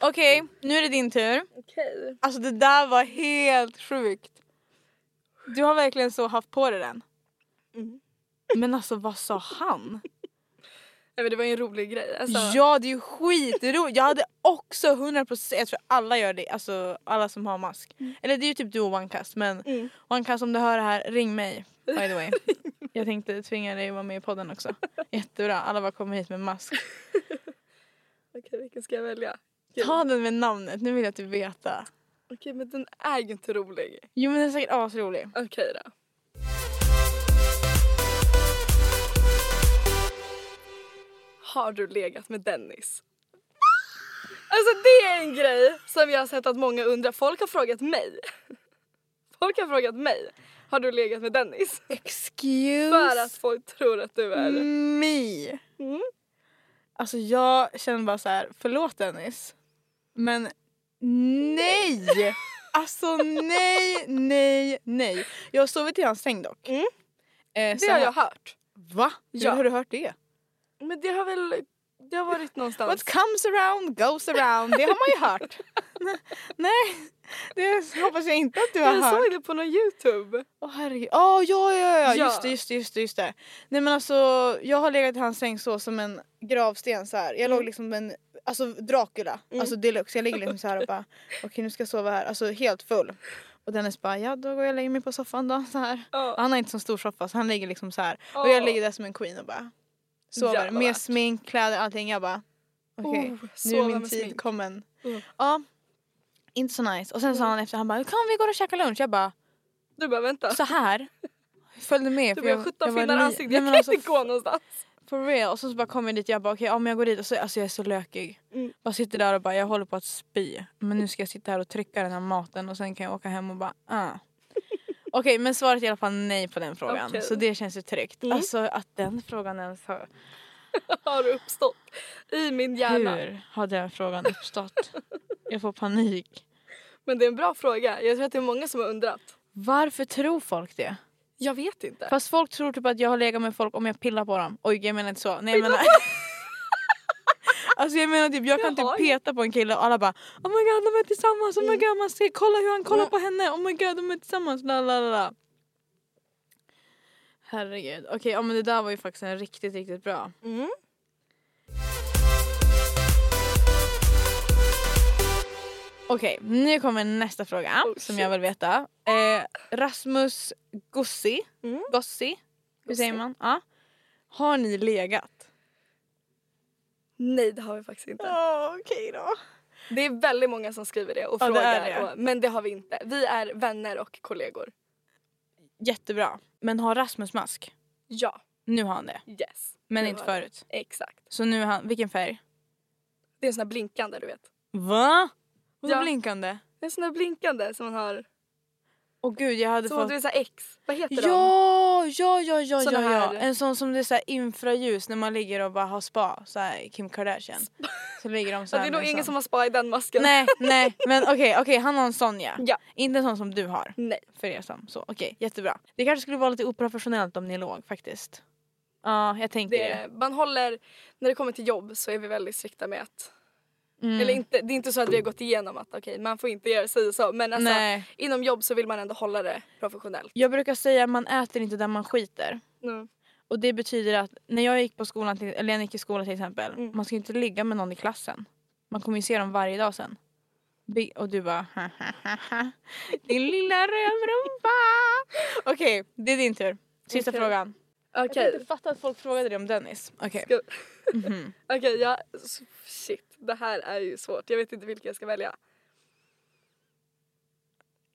S1: Okej nu är det din tur.
S2: Okej.
S1: Alltså det där var helt sjukt. Du har verkligen så haft på dig den.
S2: Mm.
S1: Men alltså vad sa han?
S2: Nej, men det var ju en rolig grej. Alltså,
S1: Ja det är ju skitroligt. Jag hade också 100% jag tror alla gör det. Alltså alla som har mask. Eller det är ju typ du och OneCast men
S2: Mm.
S1: OneCast om du hör det här ring mig. By the way. Jag tänkte tvinga dig att vara med i podden också. Jättebra. Alla bara kommer hit med mask.
S2: Okej, vilken ska jag välja?
S1: Ta den med namnet. Nu vill jag att du veta.
S2: Okej, men den är ju inte rolig.
S1: Jo men den är säkert asrolig.
S2: Okej då. Har du legat med Dennis? Alltså det är en grej som jag har sett att många undrar. Folk har frågat mig. Folk har frågat mig. Har du legat med Dennis?
S1: Excuse
S2: För att folk tror att du är...
S1: Me.
S2: Mm.
S1: Alltså jag känner bara så här, förlåt Dennis. Men nej! Alltså nej, nej, nej. Jag har sovit i hans säng dock.
S2: Mm.
S1: Eh,
S2: Det
S1: så
S2: har
S1: här-
S2: jag hört.
S1: Va?
S2: Ja.
S1: Hur har du hört det?
S2: Men det har väl... Det har varit någonstans.
S1: What comes around goes around. Det har man ju hört. nej, det hoppas jag inte att du har
S2: Jag
S1: hört.
S2: såg det på någon youtube.
S1: Åh herregud. Åh, ja, ja, ja,
S2: Ja.
S1: Just det, just det, just det, just det. Nej men alltså, jag har legat i hans säng så som en gravsten så här. Jag
S2: Mm.
S1: låg liksom med en, alltså Dracula, alltså deluxe. Jag ligger liksom så här och bara, okej nu ska jag sova här, alltså helt full. Och Dennis bara, ja då går jag och lägger mig på soffan då så här.
S2: Ja.
S1: Och Han har inte så stor soffa så han ligger liksom så här. Och jag
S2: Åh.
S1: ligger där som en queen och bara sover.
S2: Jävlar.
S1: Med smink, kläder, allting. Jag bara, okej
S2: Oh,
S1: nu är
S2: sova
S1: min
S2: med
S1: tid
S2: smink.
S1: kommen.
S2: Mm.
S1: Ja, inte så nice. Och sen sa han efter, han bara, kom vi går och käkar lunch. Jag bara,
S2: Du bara vänta.
S1: så här. Följde med.
S2: Du
S1: för
S2: bara 17
S1: var
S2: finnar i
S1: ny.
S2: ansiktet.
S1: Nej,
S2: Jag
S1: men
S2: kan
S1: alltså,
S2: inte gå någonstans.
S1: For real. Och så, så bara kom jag dit jag bara okej om jag går dit. Och så, alltså jag är så lökig.
S2: Mm.
S1: Bara sitter där och bara jag håller på att spy. Men nu ska jag sitta här och trycka den här maten och sen kan jag åka hem och bara ah. Okej men svaret är i alla fall nej på den frågan.
S2: Okej.
S1: Så det känns ju tryggt.
S2: Mm.
S1: Alltså att den frågan ens har...
S2: har uppstått i min hjärna.
S1: Hur har den frågan uppstått? jag får panik.
S2: Men det är en bra fråga. Jag tror att det är många som har undrat.
S1: Varför tror folk det?
S2: Jag vet inte.
S1: Fast folk tror typ att jag har legat med folk om jag pillar på dem. Oj jag menar inte så. Nej, jag menar... alltså jag menar typ jag kan
S2: Jag har
S1: typ
S2: ju-
S1: peta på en kille och alla bara Oh my god de är tillsammans, oh my god man ser, kolla hur han kollar på henne, oh my god de är tillsammans, la la la, la. Herregud. Okej ja, men det där var ju faktiskt en riktigt riktigt bra.
S2: Mm.
S1: Okej nu kommer nästa fråga
S2: Oh,
S1: som jag vill veta. Eh, Rasmus Gossi,
S2: Mm.
S1: Gossi, hur säger
S2: Gossi.
S1: man? Ja. Har ni legat?
S2: Nej, det har vi faktiskt inte.
S1: Ja, okej då.
S2: Det är väldigt många som skriver det och
S1: Ja, det
S2: frågar.
S1: är det.
S2: Och, men det har vi inte. Vi är vänner och kollegor.
S1: Jättebra. Men har Rasmus mask?
S2: Ja.
S1: Nu har han det,
S2: Yes.
S1: men
S2: Nu
S1: inte
S2: har vi.
S1: förut.
S2: Exakt.
S1: Så nu är han, vilken färg?
S2: Det är en sån här blinkande, du vet.
S1: Va? Vadå
S2: Ja.
S1: blinkande?
S2: Det är en sån här blinkande som man har.
S1: Åh gud jag hade
S2: Så
S1: fått...
S2: du är så här X. Vad heter de?
S1: Ja, ja, ja, ja, ja,
S2: Såna
S1: ja.
S2: här-
S1: En sån som det är så här infraljus när man ligger och bara har spa. Så här Kim Kardashian. Så ligger de så
S2: Ja,
S1: här
S2: det är
S1: med
S2: nog
S1: en
S2: ingen
S1: sån.
S2: som har spa i den masken.
S1: Nej, nej, men okej, okej, han har en sån ja.
S2: Ja.
S1: Inte en sån som du har.
S2: Nej.
S1: För er som, så okej, jättebra. Det kanske skulle vara lite oprofessionellt om ni låg faktiskt. Ja, jag tänker
S2: Det
S1: det.
S2: är, man håller, när det kommer till jobb så är vi väldigt strikta med att
S1: Mm.
S2: Eller inte, det är inte så att vi har gått igenom att okej man får inte göra sig så men alltså
S1: Nej.
S2: inom jobb så vill man ändå hålla det professionellt.
S1: Jag brukar säga man äter inte där man skiter.
S2: Mm.
S1: Och det betyder att när jag gick på skolan, till, eller jag gick i skolan till exempel.
S2: Mm.
S1: Man ska ju inte ligga med någon i klassen. Man kommer ju se dem varje dag sen. Bi- Och du bara Din lilla rövrumpa. Okej, det är din tur. Sista
S2: Okej.
S1: frågan. Jag
S2: Okej,
S1: kan inte fatta att folk frågade dig om Dennis. Okej.
S2: Ska-
S1: Mhm.
S2: okej, ja, s- shit det här är ju svårt. Jag vet inte vilka jag ska välja.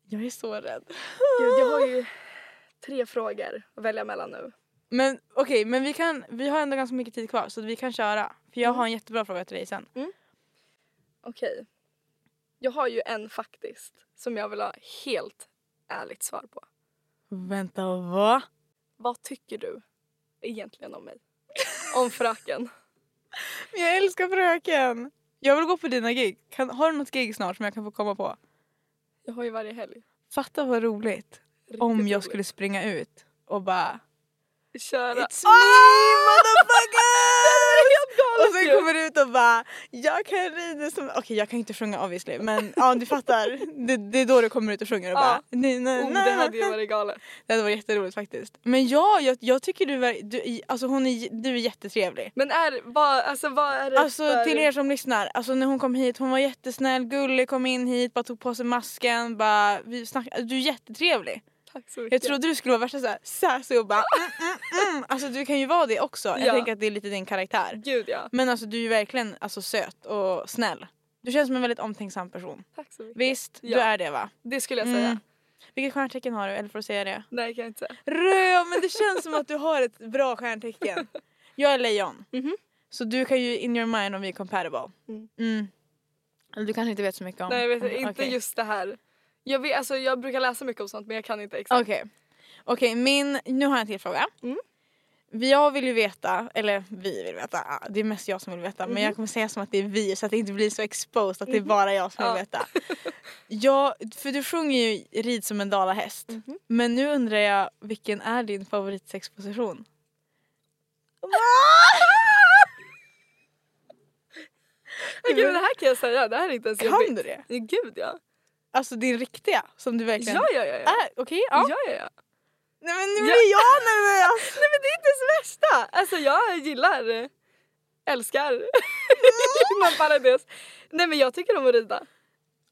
S1: Jag är så rädd.
S2: Gud jag har ju tre frågor att välja mellan nu.
S1: Men okej, men vi, kan, vi har ändå ganska mycket tid
S2: Mm.
S1: kvar så vi kan köra. För jag har en jättebra fråga till dig sen.
S2: Okej. Jag har ju en faktiskt som jag vill ha helt ärligt svar på.
S1: Vänta, vad?
S2: Vad tycker du egentligen om mig? Om fröken?
S1: Jag älskar fröken! Jag vill gå på dina gig. Kan, har du något gig snart som jag kan få komma på?
S2: Jag har ju varje helg.
S1: Fatta vad roligt
S2: Riktigt
S1: om jag
S2: roligt.
S1: skulle springa ut och bara
S2: köra.
S1: It's me
S2: Ah!
S1: motherfuckers! och sen
S2: ju.
S1: kommer du ut och bara jag kan rida som... Okej jag kan inte sjunga obviously men ja du fattar. Det, det är då du kommer ut och sjunger och
S2: Ja.
S1: bara nej, nej,
S2: Oh,
S1: nej,
S2: det hade ju
S1: nej.
S2: varit galet.
S1: det hade varit jätteroligt faktiskt. Men ja, jag, jag tycker du, ver- du, alltså hon är, j- du är jättetrevlig.
S2: Men är, vad, alltså, vad är det
S1: Alltså
S2: för...
S1: till er som lyssnar, alltså när hon kom hit hon var jättesnäll, gullig, kom in hit, bara tog på sig masken, bara vi snackade, du är jättetrevlig.
S2: Tack så mycket.
S1: Jag trodde du skulle vara värsta såhär sassy och bara mm, mm, mm. Alltså du kan ju vara det också, jag
S2: Ja.
S1: tänker att det är lite din karaktär.
S2: Gud ja.
S1: Men alltså du är ju verkligen alltså, söt och snäll. Du känns som en väldigt omtänksam person.
S2: Tack så mycket.
S1: Visst,
S2: Ja.
S1: du är det va?
S2: Det skulle jag
S1: Mm.
S2: säga.
S1: Vilket stjärntecken har du? Eller får du säga det?
S2: Nej, kan jag inte säga.
S1: Röd! Men det känns som att du har ett bra stjärntecken. Jag är lejon.
S2: Mhm.
S1: Så du kan ju in your mind om vi är compatible.
S2: Mm.
S1: Mm. Eller du kanske inte vet så mycket om.
S2: Nej, jag vet inte
S1: Okej.
S2: just det här. Jag, vet, alltså, jag brukar läsa mycket om sånt men jag kan inte exakt.
S1: Okej. Okej, min... Nu har jag en till fråga.
S2: Mm.
S1: Jag vill ju veta, eller vi vill veta, ah, det är mest jag som vill veta men
S2: Mhm.
S1: jag kommer säga som att det är vi så att det inte blir så exposed att det är bara jag som
S2: Ja.
S1: vill veta. Jag, för du sjunger ju Rid som en dalahäst
S2: Mhm.
S1: men nu undrar jag vilken är din favoritsexposition?
S2: Okej, men det här kan jag säga. Det här är inte ens
S1: Kan
S2: jobbigt.
S1: du det?
S2: Ja, Gud ja.
S1: Alltså din riktiga som du verkligen...
S2: Ja, ja, ja. ja.
S1: Är, okej, ja.
S2: Ja, ja, ja.
S1: Nej men nu
S2: Ja.
S1: blir jag nervös!
S2: Nej men det är inte ens värsta! Alltså jag gillar, älskar,
S1: Mm.
S2: inom parentes. Nej men jag tycker om att rida.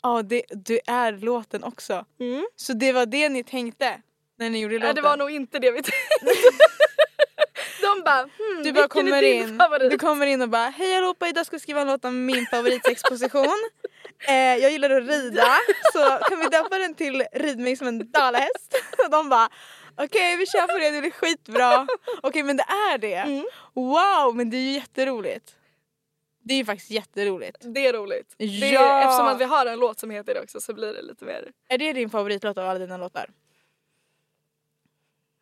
S1: Ja, det, du är låten också.
S2: Mm.
S1: Så det var det ni tänkte när ni gjorde låten?
S2: Nej det var nog inte det vi tänkte. De bara, hmm,
S1: Du bara
S2: vilken
S1: kommer
S2: är din
S1: in,
S2: favorit?
S1: du kommer in och bara hej allihopa idag ska jag skriva en låt om min favoritsexposition. eh, jag gillar att rida så kan vi döpa den till Rid mig som en dalahäst. och de bara okej vi kör på det, det blir skitbra. Okej men det är det.
S2: Mm.
S1: Wow men det är ju jätteroligt. Det är ju faktiskt jätteroligt.
S2: Det är roligt. Det
S1: Ja.
S2: är, eftersom att vi har en låt som heter det också så blir det lite mer.
S1: Är det din favoritlåt av alla dina låtar?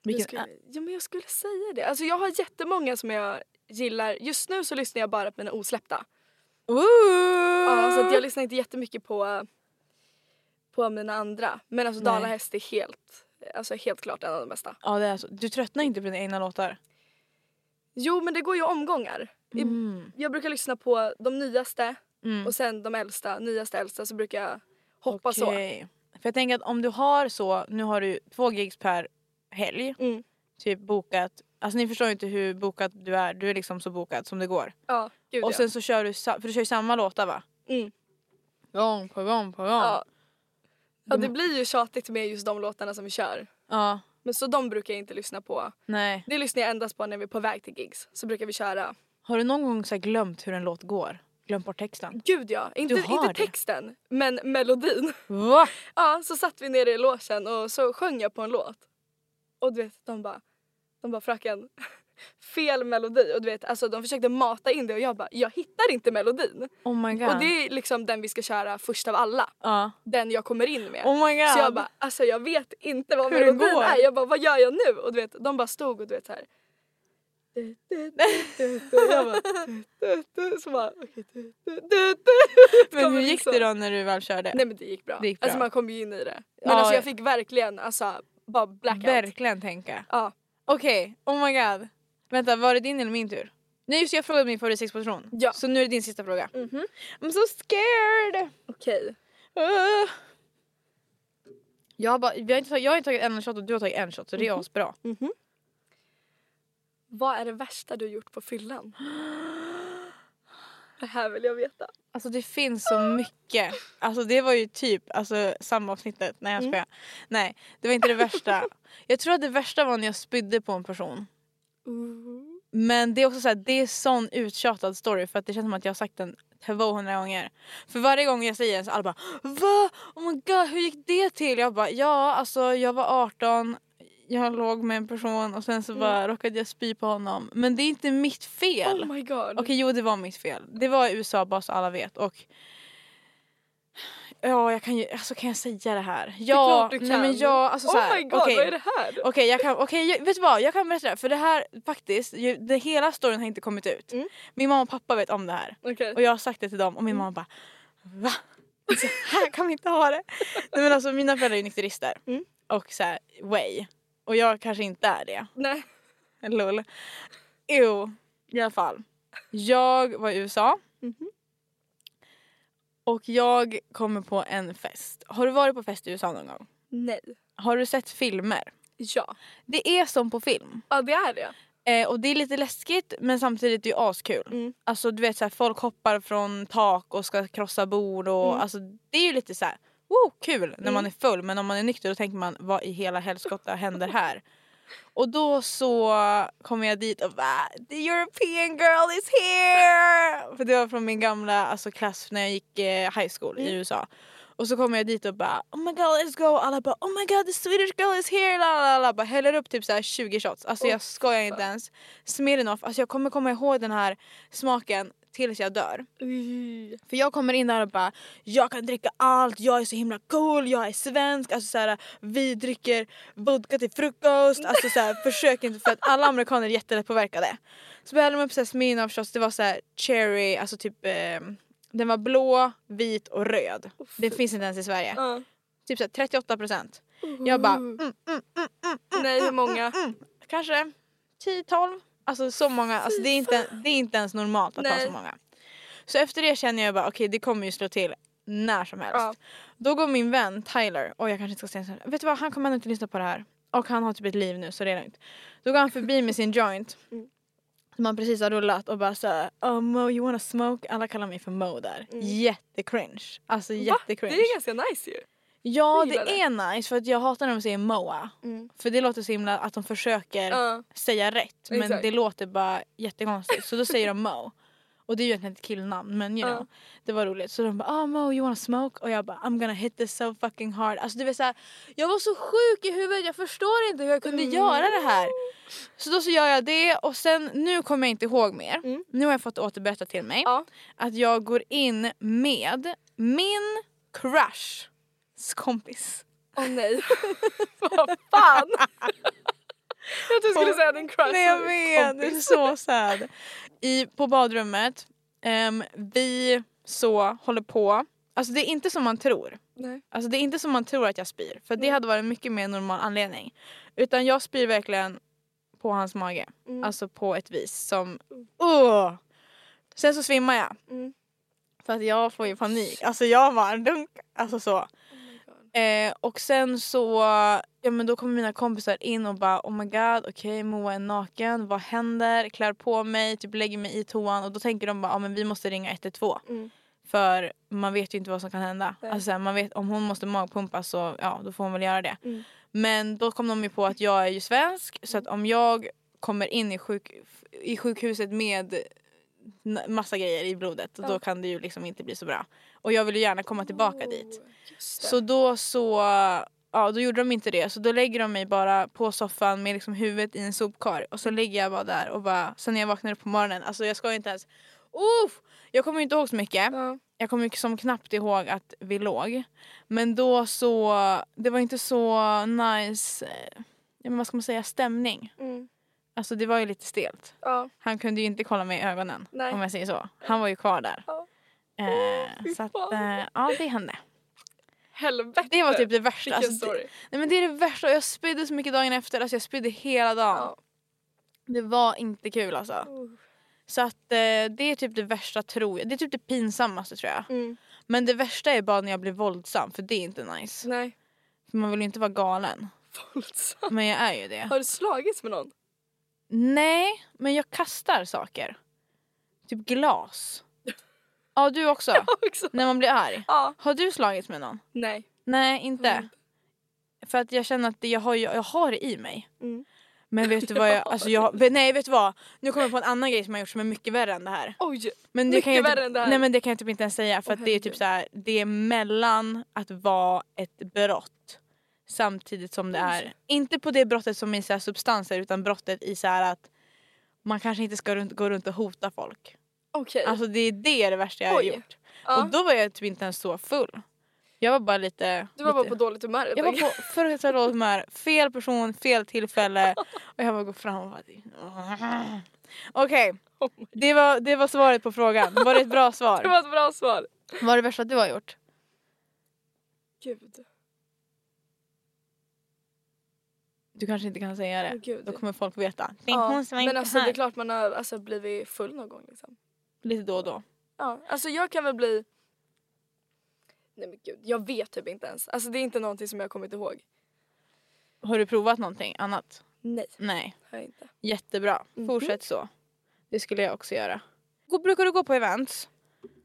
S1: Vilken
S2: Jag skulle, ja men jag skulle säga det. Alltså jag har jättemånga som jag gillar. Just nu så lyssnar jag bara på mina osläppta.
S1: Ah, Ooh.
S2: Ja, så att jag lyssnar inte jättemycket på, på mina andra. Men alltså
S1: Nej.
S2: Dalahäst är helt, alltså helt klart en av de bästa.
S1: ja, det är så. Du tröttnar inte på dina egna låtar?
S2: Jo men det går ju omgångar. I-
S1: Mm.
S2: Jag brukar lyssna på de nyaste
S1: Mm.
S2: och sen de äldsta, nyaste äldsta så brukar jag hoppa så.
S1: Okej. För jag tänker att om du har så, nu har du två gigs per helg.
S2: Mm.
S1: Typ bokat, alltså ni förstår ju inte hur bokat du är. Du är liksom så bokad som det går.
S2: Ja, gud
S1: Och sen så kör du, sa- för du kör ju samma låtar va?
S2: Mm.
S1: Gång på gång på gång.
S2: ja. Ja.
S1: Ja. Mm.
S2: ja det blir ju tjatigt med just de låtarna som vi kör. Men så de brukar jag inte lyssna på.
S1: Nej.
S2: Det lyssnar jag endast på när vi är på väg till gigs. Så brukar vi köra.
S1: Har du någon gång så här glömt hur en låt går? Glömt bort texten?
S2: Gud ja, inte,
S1: har
S2: inte
S1: det?
S2: texten men melodin.
S1: Va?
S2: Ja, så satt vi nere i logen och så sjöng jag på en låt. Och du vet, de bara, de bara fröken, fel melodi. Och du vet, alltså de försökte mata in det och jag bara, jag hittar inte melodin.
S1: Oh my god.
S2: Och det är liksom den vi ska köra först av alla.
S1: ja.
S2: Den jag kommer in med.
S1: Oh my god.
S2: Så jag bara, alltså jag vet inte vad
S1: Hur det
S2: melodin
S1: går.
S2: är. Jag bara, vad gör jag nu? Och du vet, de bara stod och du vet så här. Du, du, du, du, du. Och Jag bara, du, du, du. Så bara, okej. du, du, du, du.
S1: men
S2: kommer
S1: hur
S2: in
S1: gick
S2: så.
S1: det då när du väl körde?
S2: Nej men det gick bra.
S1: Det gick
S2: Alltså
S1: bra.
S2: man kom ju in i det. Men
S1: Ja.
S2: alltså jag fick verkligen alltså bara blackout.
S1: Verkligen tänka.
S2: Ja.
S1: Okej, oh my god. Vänta, var det din eller min tur? Nej just det, jag frågade min favoritsexposition.
S2: Ja.
S1: Så nu är det din sista fråga. I'm so scared!
S2: Okej.
S1: Ah. Jag, har bara, vi har inte tagit, jag har inte tagit en shot och du har tagit en shot så det är asbra.
S2: Vad är det värsta du gjort på fyllan? Det här vill jag veta.
S1: Alltså det finns så mycket. Alltså det var ju typ alltså, samma avsnittet. Nej jag skojar. Nej det var inte det värsta. Jag tror att det värsta var när jag spydde på en person. Men det är också så här, det är sån uttjatad story för att det känns som att jag har sagt den 200 gånger. För varje gång jag säger den så alla bara Va? Oh my god hur gick det till? Jag bara ja alltså jag var 18 jag låg med en person och sen
S2: Mm.
S1: så bara råkade jag spy på honom. Men det är inte mitt fel.
S2: Oh my god.
S1: Okej, jo det var mitt fel. Det var i USA bara så alla vet. Och Ja, jag kan ju, alltså kan jag säga det här?
S2: Det är
S1: Ja,
S2: klart du
S1: nej
S2: kan.
S1: men jag, alltså så
S2: oh
S1: här,
S2: my god,
S1: okej.
S2: vad är det här?
S1: Okej, jag kan, okej, jag- vet du vad? Jag kan berätta det här, för det här faktiskt, ju, det hela storyn har inte kommit ut.
S2: Mm.
S1: Min mamma och pappa vet om det här.
S2: Okej.
S1: Och jag har sagt det till dem och min mamma bara Va? Så här kan vi inte ha det. Nej men alltså mina föräldrar är ju nykterister.
S2: Mm.
S1: Och så här, way. Och jag kanske inte är det.
S2: Nej.
S1: Lol. Jo, i alla fall. Jag var i USA.
S2: Mhm.
S1: Och jag kommer på en fest. Har du varit på fest i USA någon gång?
S2: Nej.
S1: Har du sett filmer?
S2: Ja.
S1: Det är som på film.
S2: Ja det är det.
S1: Eh, och det är lite läskigt men samtidigt är det ju askul.
S2: Mm.
S1: Alltså du vet såhär folk hoppar från tak och ska krossa bord och
S2: Mm.
S1: alltså det är ju lite såhär wow, kul när man är full men om man är nykter då tänker man vad i hela helskotta händer här? Och då så kommer jag dit och bara the European girl is here! För det var från min gamla alltså, klass när jag gick eh, high school i USA. Och så kommer jag dit och bara oh my god let's go! Alla bara oh my god the Swedish girl is here! La, la, la, la. Bara häller upp typ så här 20 shots. Alltså jag skojar inte ens. Smirnoff, alltså jag kommer komma ihåg den här smaken tills jag dör.
S2: Uy.
S1: För jag kommer in där och bara jag kan dricka allt, jag är så himla cool, jag är svensk. Alltså så här, vi dricker vodka till frukost. Alltså så här, försök inte för att alla amerikaner är jättelättpåverkade. Så började de upp så här Smirnoff shots, det var så här cherry, alltså typ eh, den var blå, vit och röd. Det finns inte ens i Sverige.
S2: Ja.
S1: Typ så här 38 procent. Jag bara mm,
S2: Nej hur många?
S1: kanske 10-12. Alltså så många, alltså det är inte, det är inte ens normalt att ha
S2: Nej.
S1: så många. Så efter det känner jag bara okej det kommer ju slå till när som helst.
S2: Ja.
S1: Då går min vän Tyler, och jag kanske inte ska säga så här. Vet du vad han kommer ändå inte lyssna på det här. Och han har typ ett liv nu så det är lugnt. Då går han förbi med sin joint.
S2: Mm.
S1: Som han precis har rullat och bara såhär oh Mo you wanna smoke? Alla kallar mig för Mo där. Jättecringe. Alltså
S2: Mm. Det
S1: jättecringe.
S2: är ganska nice ju.
S1: Ja
S2: Jag
S1: det
S2: gillar Mm.
S1: är nice för att jag hatar när de säger Moa. För det låter så himla att de försöker
S2: Ja.
S1: säga rätt men
S2: Exakt.
S1: det låter bara jättekonstigt. Så då säger de Mo. Och det är ju egentligen ett killnamn men you know.
S2: Ja.
S1: Det var roligt. Så de bara ah Mo you wanna smoke? Och jag bara I'm gonna hit this so fucking hard. Alltså du vet såhär jag var så sjuk i huvudet jag förstår inte hur jag
S2: Mm.
S1: kunde göra det här. Så då så gör jag det och sen nu kommer jag inte ihåg mer. Nu har jag fått återberätta till mig
S2: Mm. Ja.
S1: att jag går in med min crushs kompis.
S2: Åh nej. Vad fan! jag trodde du skulle
S1: Åh,
S2: säga din crush.
S1: Nej jag vet, det är så sad. I, på badrummet, ehm, vi så håller på. Alltså det är inte som man tror.
S2: Nej.
S1: Alltså det är inte som man tror att jag spyr. För det hade varit en mycket mer normal anledning. Utan jag spyr verkligen på hans mage.
S2: Mm.
S1: Alltså på ett vis som... Åh! Sen så svimmar jag.
S2: Mm.
S1: För att jag får ju panik. Alltså jag bara dunk. Alltså så. Eh, och sen så, ja men då kommer mina kompisar in och bara oh my god, okej Moa är naken, vad händer? Klär på mig, typ lägger mig i toan och då tänker de bara ja men vi måste ringa 112.
S2: Mm.
S1: För man vet ju inte vad som kan hända.
S2: Nej.
S1: Alltså, så här, man vet, om hon måste magpumpa så ja, då får hon väl göra det.
S2: Mm.
S1: Men då kom de ju på att jag är ju svensk så att om jag kommer in i, sjuk, i sjukhuset med n- massa grejer i blodet då kan det ju liksom inte bli så bra. Och jag vill ju gärna komma
S2: Mm.
S1: tillbaka dit. Så då så, ja då gjorde de inte det. Så då lägger de mig bara på soffan med liksom huvudet i en sopkar. Och så ligger jag bara där och bara, sen när jag vaknar upp på morgonen, alltså jag ska inte ens, uff! Jag kommer ju inte ihåg så mycket.
S2: Ja.
S1: Jag kommer ju som knappt ihåg att vi låg. Men då så, det var inte så nice, eh, ja, men vad ska man säga, stämning.
S2: Mm.
S1: Alltså det var ju lite stelt.
S2: Ja.
S1: Han kunde ju inte kolla mig i ögonen
S2: Nej.
S1: om jag säger så. Han var ju kvar där.
S2: Ja.
S1: Eh,
S2: fy
S1: så att,
S2: fan.
S1: eh, ja det hände.
S2: Helvete.
S1: Det var typ det värsta.
S2: Eh, Vilken
S1: Alltså, det,
S2: story.
S1: nej men det är det värsta. Jag spydde så mycket dagen efter. Alltså jag spydde hela dagen.
S2: Ja.
S1: Det var inte kul alltså. Så att eh, det är typ det värsta tror jag. Det är typ det pinsammaste tror jag.
S2: Mm.
S1: Men det värsta är bara när jag blir våldsam för det är inte nice.
S2: Nej.
S1: För man vill ju inte vara galen.
S2: Våldsam.
S1: Men jag är ju det.
S2: Har du slagits med någon?
S1: Nej, men jag kastar saker. Typ glas. Ja, du också.
S2: Också.
S1: När man blir arg.
S2: Ja.
S1: Har du slagits med någon?
S2: Nej.
S1: Nej, inte. För att jag känner att det, jag, har, ju- jag har det i mig.
S2: Mm.
S1: Men vet du vad jag, alltså jag, nej vet du vad? Nu kommer jag på en annan grej som jag gjort som är mycket värre än det här.
S2: Oj.
S1: Men det
S2: Mycket
S1: kan jag
S2: värre
S1: typ,
S2: än det här.
S1: Nej men det kan jag typ inte ens säga för
S2: Åh,
S1: att det är typ
S2: herregud.
S1: så här, det är mellan att vara ett brott samtidigt som det är, inte på det brottet som är så här substanser utan brottet i så här att man kanske inte ska runt, gå runt och hota folk.
S2: Okej.
S1: Alltså det är det, är det värsta jag har
S2: Oj.
S1: gjort.
S2: ja.
S1: Och då var jag typ inte ens så full. Jag var bara lite...
S2: Du var bara
S1: lite,
S2: på dåligt humör helt
S1: Jag var
S2: enkelt.
S1: på fruktansvärt dåligt humör. Fel person, fel tillfälle. Och jag bara går fram och bara... Okej, det, var, det var svaret på frågan. Var det ett bra
S2: Oh Det
S1: svar?
S2: var ett bra svar.
S1: Vad är det värsta du har gjort?
S2: Gud.
S1: Du kanske inte kan säga
S2: Åh,
S1: det.
S2: gud.
S1: Då kommer folk veta. Tänk
S2: Ja,
S1: hon som
S2: men
S1: inte
S2: alltså det
S1: här.
S2: är klart man har alltså, blivit full någon gång liksom.
S1: Lite då och då.
S2: Ja, alltså jag kan väl bli... Nej men gud, jag vet typ inte ens. Alltså det är inte någonting som jag har kommit ihåg.
S1: Har du provat någonting annat?
S2: Nej,
S1: Nej.
S2: har jag inte.
S1: Jättebra.
S2: Mhm.
S1: Fortsätt så. Det skulle jag också göra. Gå- Brukar du gå på events?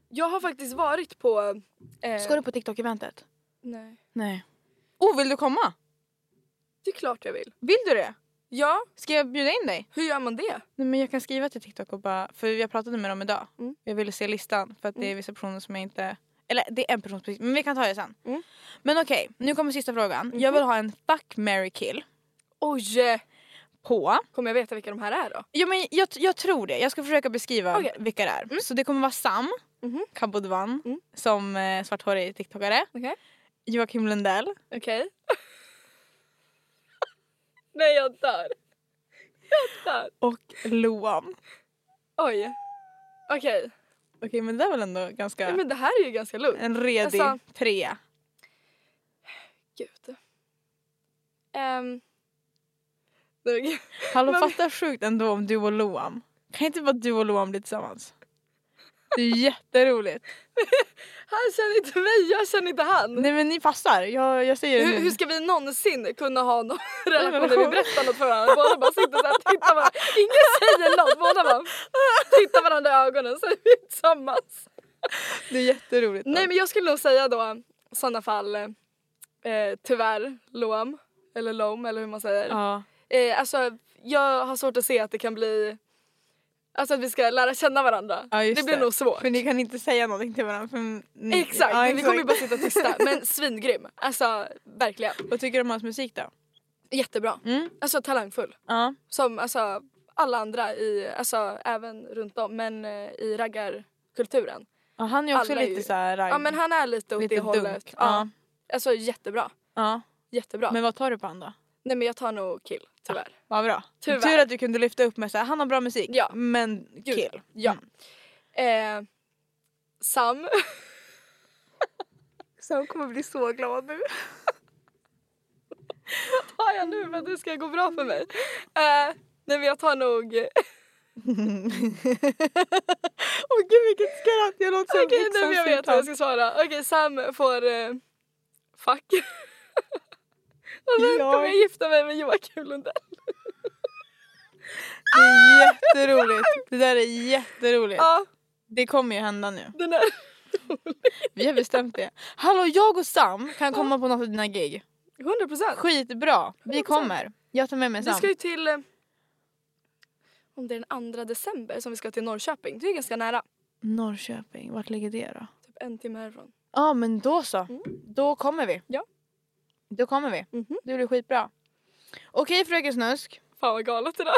S2: Jag har faktiskt varit på... Eh,
S1: Ska du på TikTok-eventet?
S2: Nej.
S1: Nej. Oh, vill du komma?
S2: Det är klart jag vill.
S1: Vill du det?
S2: Ja,
S1: Ska jag bjuda in dig?
S2: hur gör man det?
S1: Nej, men jag kan skriva till TikTok och bara... För jag pratade med dem idag.
S2: Mm.
S1: Jag ville se listan för att det är vissa personer som jag inte... Eller det är en person precis, men vi kan ta det sen.
S2: Mm. Mhm.
S1: Men okej, nu kommer sista frågan. Jag vill ha en fuck, marry, kill
S2: Oj! eh,
S1: på...
S2: Kommer jag veta vilka de här är då?
S1: Ja, men jag, jag tror det. Jag ska försöka beskriva
S2: Okej. Mm.
S1: vilka det är. Så det kommer vara Sam
S2: Mhm.
S1: Kabodvan
S2: Mm.
S1: som eh, svarthårig tiktokare.
S2: Okej.
S1: Joakim Lundell.
S2: Okej. Nej jag dör. Jag dör.
S1: Och Loam.
S2: Oj. Okej.
S1: Okej men det där är väl ändå ganska...
S2: Nej, Men det här är ju ganska lugnt.
S1: En redig
S2: Alltså-
S1: trea.
S2: Gud. Um. Nej, men gud.
S1: Hallå
S2: Men-
S1: fatta sjukt ändå om du och Loam. Kan inte bara du och Loam bli tillsammans? Det är jätteroligt.
S2: Han känner inte mig, jag känner inte han.
S1: Nej men ni passar. Jag, jag säger det
S2: Mm. Hur,
S1: nu.
S2: hur ska vi någonsin kunna ha någon relation när vi berättar något för varandra? Båda bara sitter såhär och tittar varandra. Ingen säger något. Båda bara tittar varandra i ögonen så är vi tillsammans.
S1: Det är jätteroligt.
S2: Nej men jag skulle nog säga då i sådana fall eh, tyvärr Loam. Eller Lom eller hur man säger.
S1: Ja.
S2: Eh, alltså jag har svårt att se att det kan bli Alltså att vi ska lära känna varandra.
S1: Ja, just
S2: det blir
S1: det.
S2: nog svårt.
S1: För ni kan inte säga någonting till varandra. För ni...
S2: Exakt,
S1: Ja,
S2: vi kommer ju bara sitta tysta. Men svingrym. Alltså verkligen.
S1: Vad tycker du om hans musik då?
S2: Jättebra.
S1: Mm.
S2: Alltså talangfull.
S1: Ja.
S2: Som alltså alla andra i, alltså även runt om, men eh, i raggarkulturen.
S1: Ja, han är också
S2: Alla är
S1: lite
S2: ju-
S1: så här
S2: Ja men han är lite åt
S1: lite
S2: det
S1: dunk.
S2: hållet.
S1: Ja.
S2: Ja. Alltså jättebra.
S1: Ja.
S2: Jättebra.
S1: Men vad tar du på han då?
S2: Nej men jag tar nog kill tyvärr.
S1: Vad bra.
S2: Tyvärr.
S1: Tur att du kunde lyfta upp med så här, han har bra musik
S2: Ja.
S1: men
S2: Gud,
S1: kill.
S2: ja.
S1: Mm.
S2: Eh, Sam.
S1: Sam kommer bli så glad nu.
S2: tar jag nu för att det ska gå bra för mig? Eh, nej men jag tar nog...
S1: Åh gud vilket skratt, jag låter som
S2: Okej nej men jag vet vad jag
S1: vuxensynt.
S2: ska svara. Okej Sam får... Eh, fuck. Och sen
S1: Ja.
S2: kommer jag gifta mig med Joakim Lundell.
S1: Det är jätteroligt. Det där är jätteroligt.
S2: Ja,
S1: Det kommer ju hända nu.
S2: den är...
S1: Vi har bestämt det. Hallå jag och Sam kan komma på något av dina gig.
S2: 100 procent.
S1: Skitbra. Vi kommer. Jag tar med mig
S2: Vi
S1: Sam.
S2: ska ju till... eh, Om det är den 2 december som vi ska till Norrköping. Det är ganska nära.
S1: Norrköping, vart ligger det då?
S2: Typ en timme härifrån.
S1: Ja men då så. Då kommer vi.
S2: Mm. Ja.
S1: Då kommer vi.
S2: Mhm.
S1: Det blir skitbra. Okej fröken Snusk.
S2: Fan vad galet det där.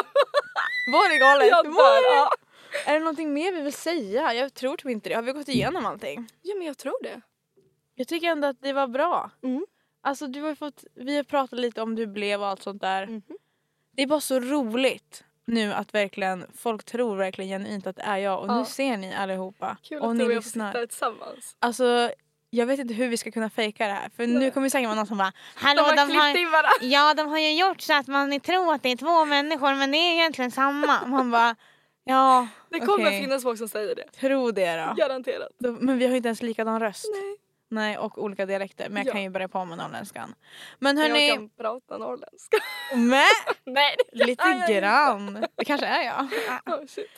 S1: Var det galet?
S2: Jag
S1: Var
S2: dör,
S1: det?
S2: ja.
S1: Är det någonting mer vi vill säga? Jag tror typ inte det. Har vi gått igenom allting?
S2: Ja men jag tror det.
S1: Jag tycker ändå att det var bra.
S2: Mm.
S1: Alltså du har ju fått, vi har pratat lite om hur det blev och allt sånt där.
S2: Mhm.
S1: Det är bara så roligt nu att verkligen folk tror verkligen genuint att det är jag och nu
S2: Ja.
S1: ser ni allihopa.
S2: Kul
S1: och
S2: att
S1: ni
S2: du och jag får sitta
S1: lyssnar.
S2: här tillsammans.
S1: Alltså jag vet inte hur vi ska kunna fejka det här för nu kommer det säkert vara någon som bara
S2: De
S7: Hallå,
S2: har klippt in varandra.
S7: ja, de har ju gjort så att man tror att det är två människor men det är egentligen samma. Man bara, ja,
S2: Det kommer
S1: Okej.
S2: finnas folk som säger det.
S1: tro det då.
S2: Garanterat.
S1: Då- Men vi har ju inte ens likadan röst.
S2: Nej.
S1: Nej, och olika dialekter. Men jag
S2: Ja.
S1: kan ju börja på med norrländskan. Men
S2: Men
S1: hörni,
S2: Jag kan prata norrländska.
S1: med
S2: Nej det kan jag
S1: lite
S2: inte.
S1: grann. Det kanske är jag.
S2: Oh, shit.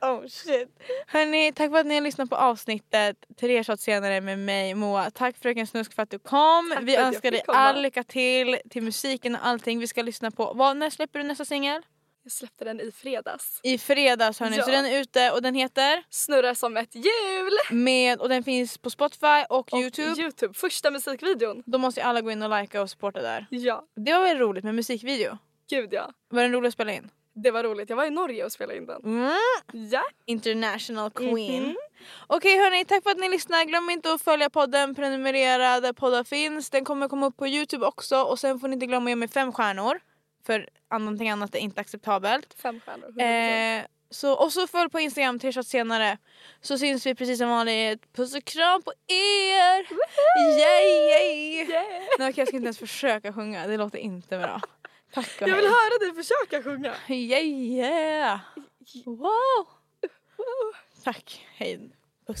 S1: Oh shit. Hörni, tack för att ni har lyssnat på avsnittet. Tre shot senare med mig Moa. Tack fröken Snusk för att du kom.
S2: Tack
S1: Vi
S2: för att jag
S1: önskar dig
S2: fick komma.
S1: all lycka till till musiken och allting. Vi ska lyssna på, vad, när släpper du nästa singel?
S2: Jag släppte den i fredags.
S1: I fredags hörni.
S2: Ja.
S1: Så den är ute och den heter?
S2: Snurrar som ett hjul!
S1: Med, och den finns på Spotify och,
S2: Och
S1: Youtube.
S2: Youtube. Första musikvideon.
S1: Då måste ju alla gå in och likea och supporta där.
S2: Ja,
S1: Det var väl roligt med musikvideo?
S2: gud ja.
S1: Var den rolig att spela in?
S2: Det var roligt. Jag var i Norge och spelade in den.
S1: Mm.
S2: Ja. Mhm.
S1: International queen. Okej hörni, tack för att ni lyssnar. Glöm inte att följa podden, prenumerera där poddar finns. Den kommer komma upp på Youtube också och sen får ni inte glömma att ge mig fem stjärnor. För någonting annat är inte acceptabelt.
S2: Fem stjärnor.
S1: Eh, så, och så följ på Instagram tre shots senare. Så syns vi precis som vanligt. Puss och kram på er! Yay, yay. Nej, okej, jag ska inte ens försöka sjunga, det låter inte bra. Tack och
S2: Jag vill
S1: hej.
S2: höra dig försöka sjunga.
S1: Yeah, yeah. Wow. Tack, hej. Puss.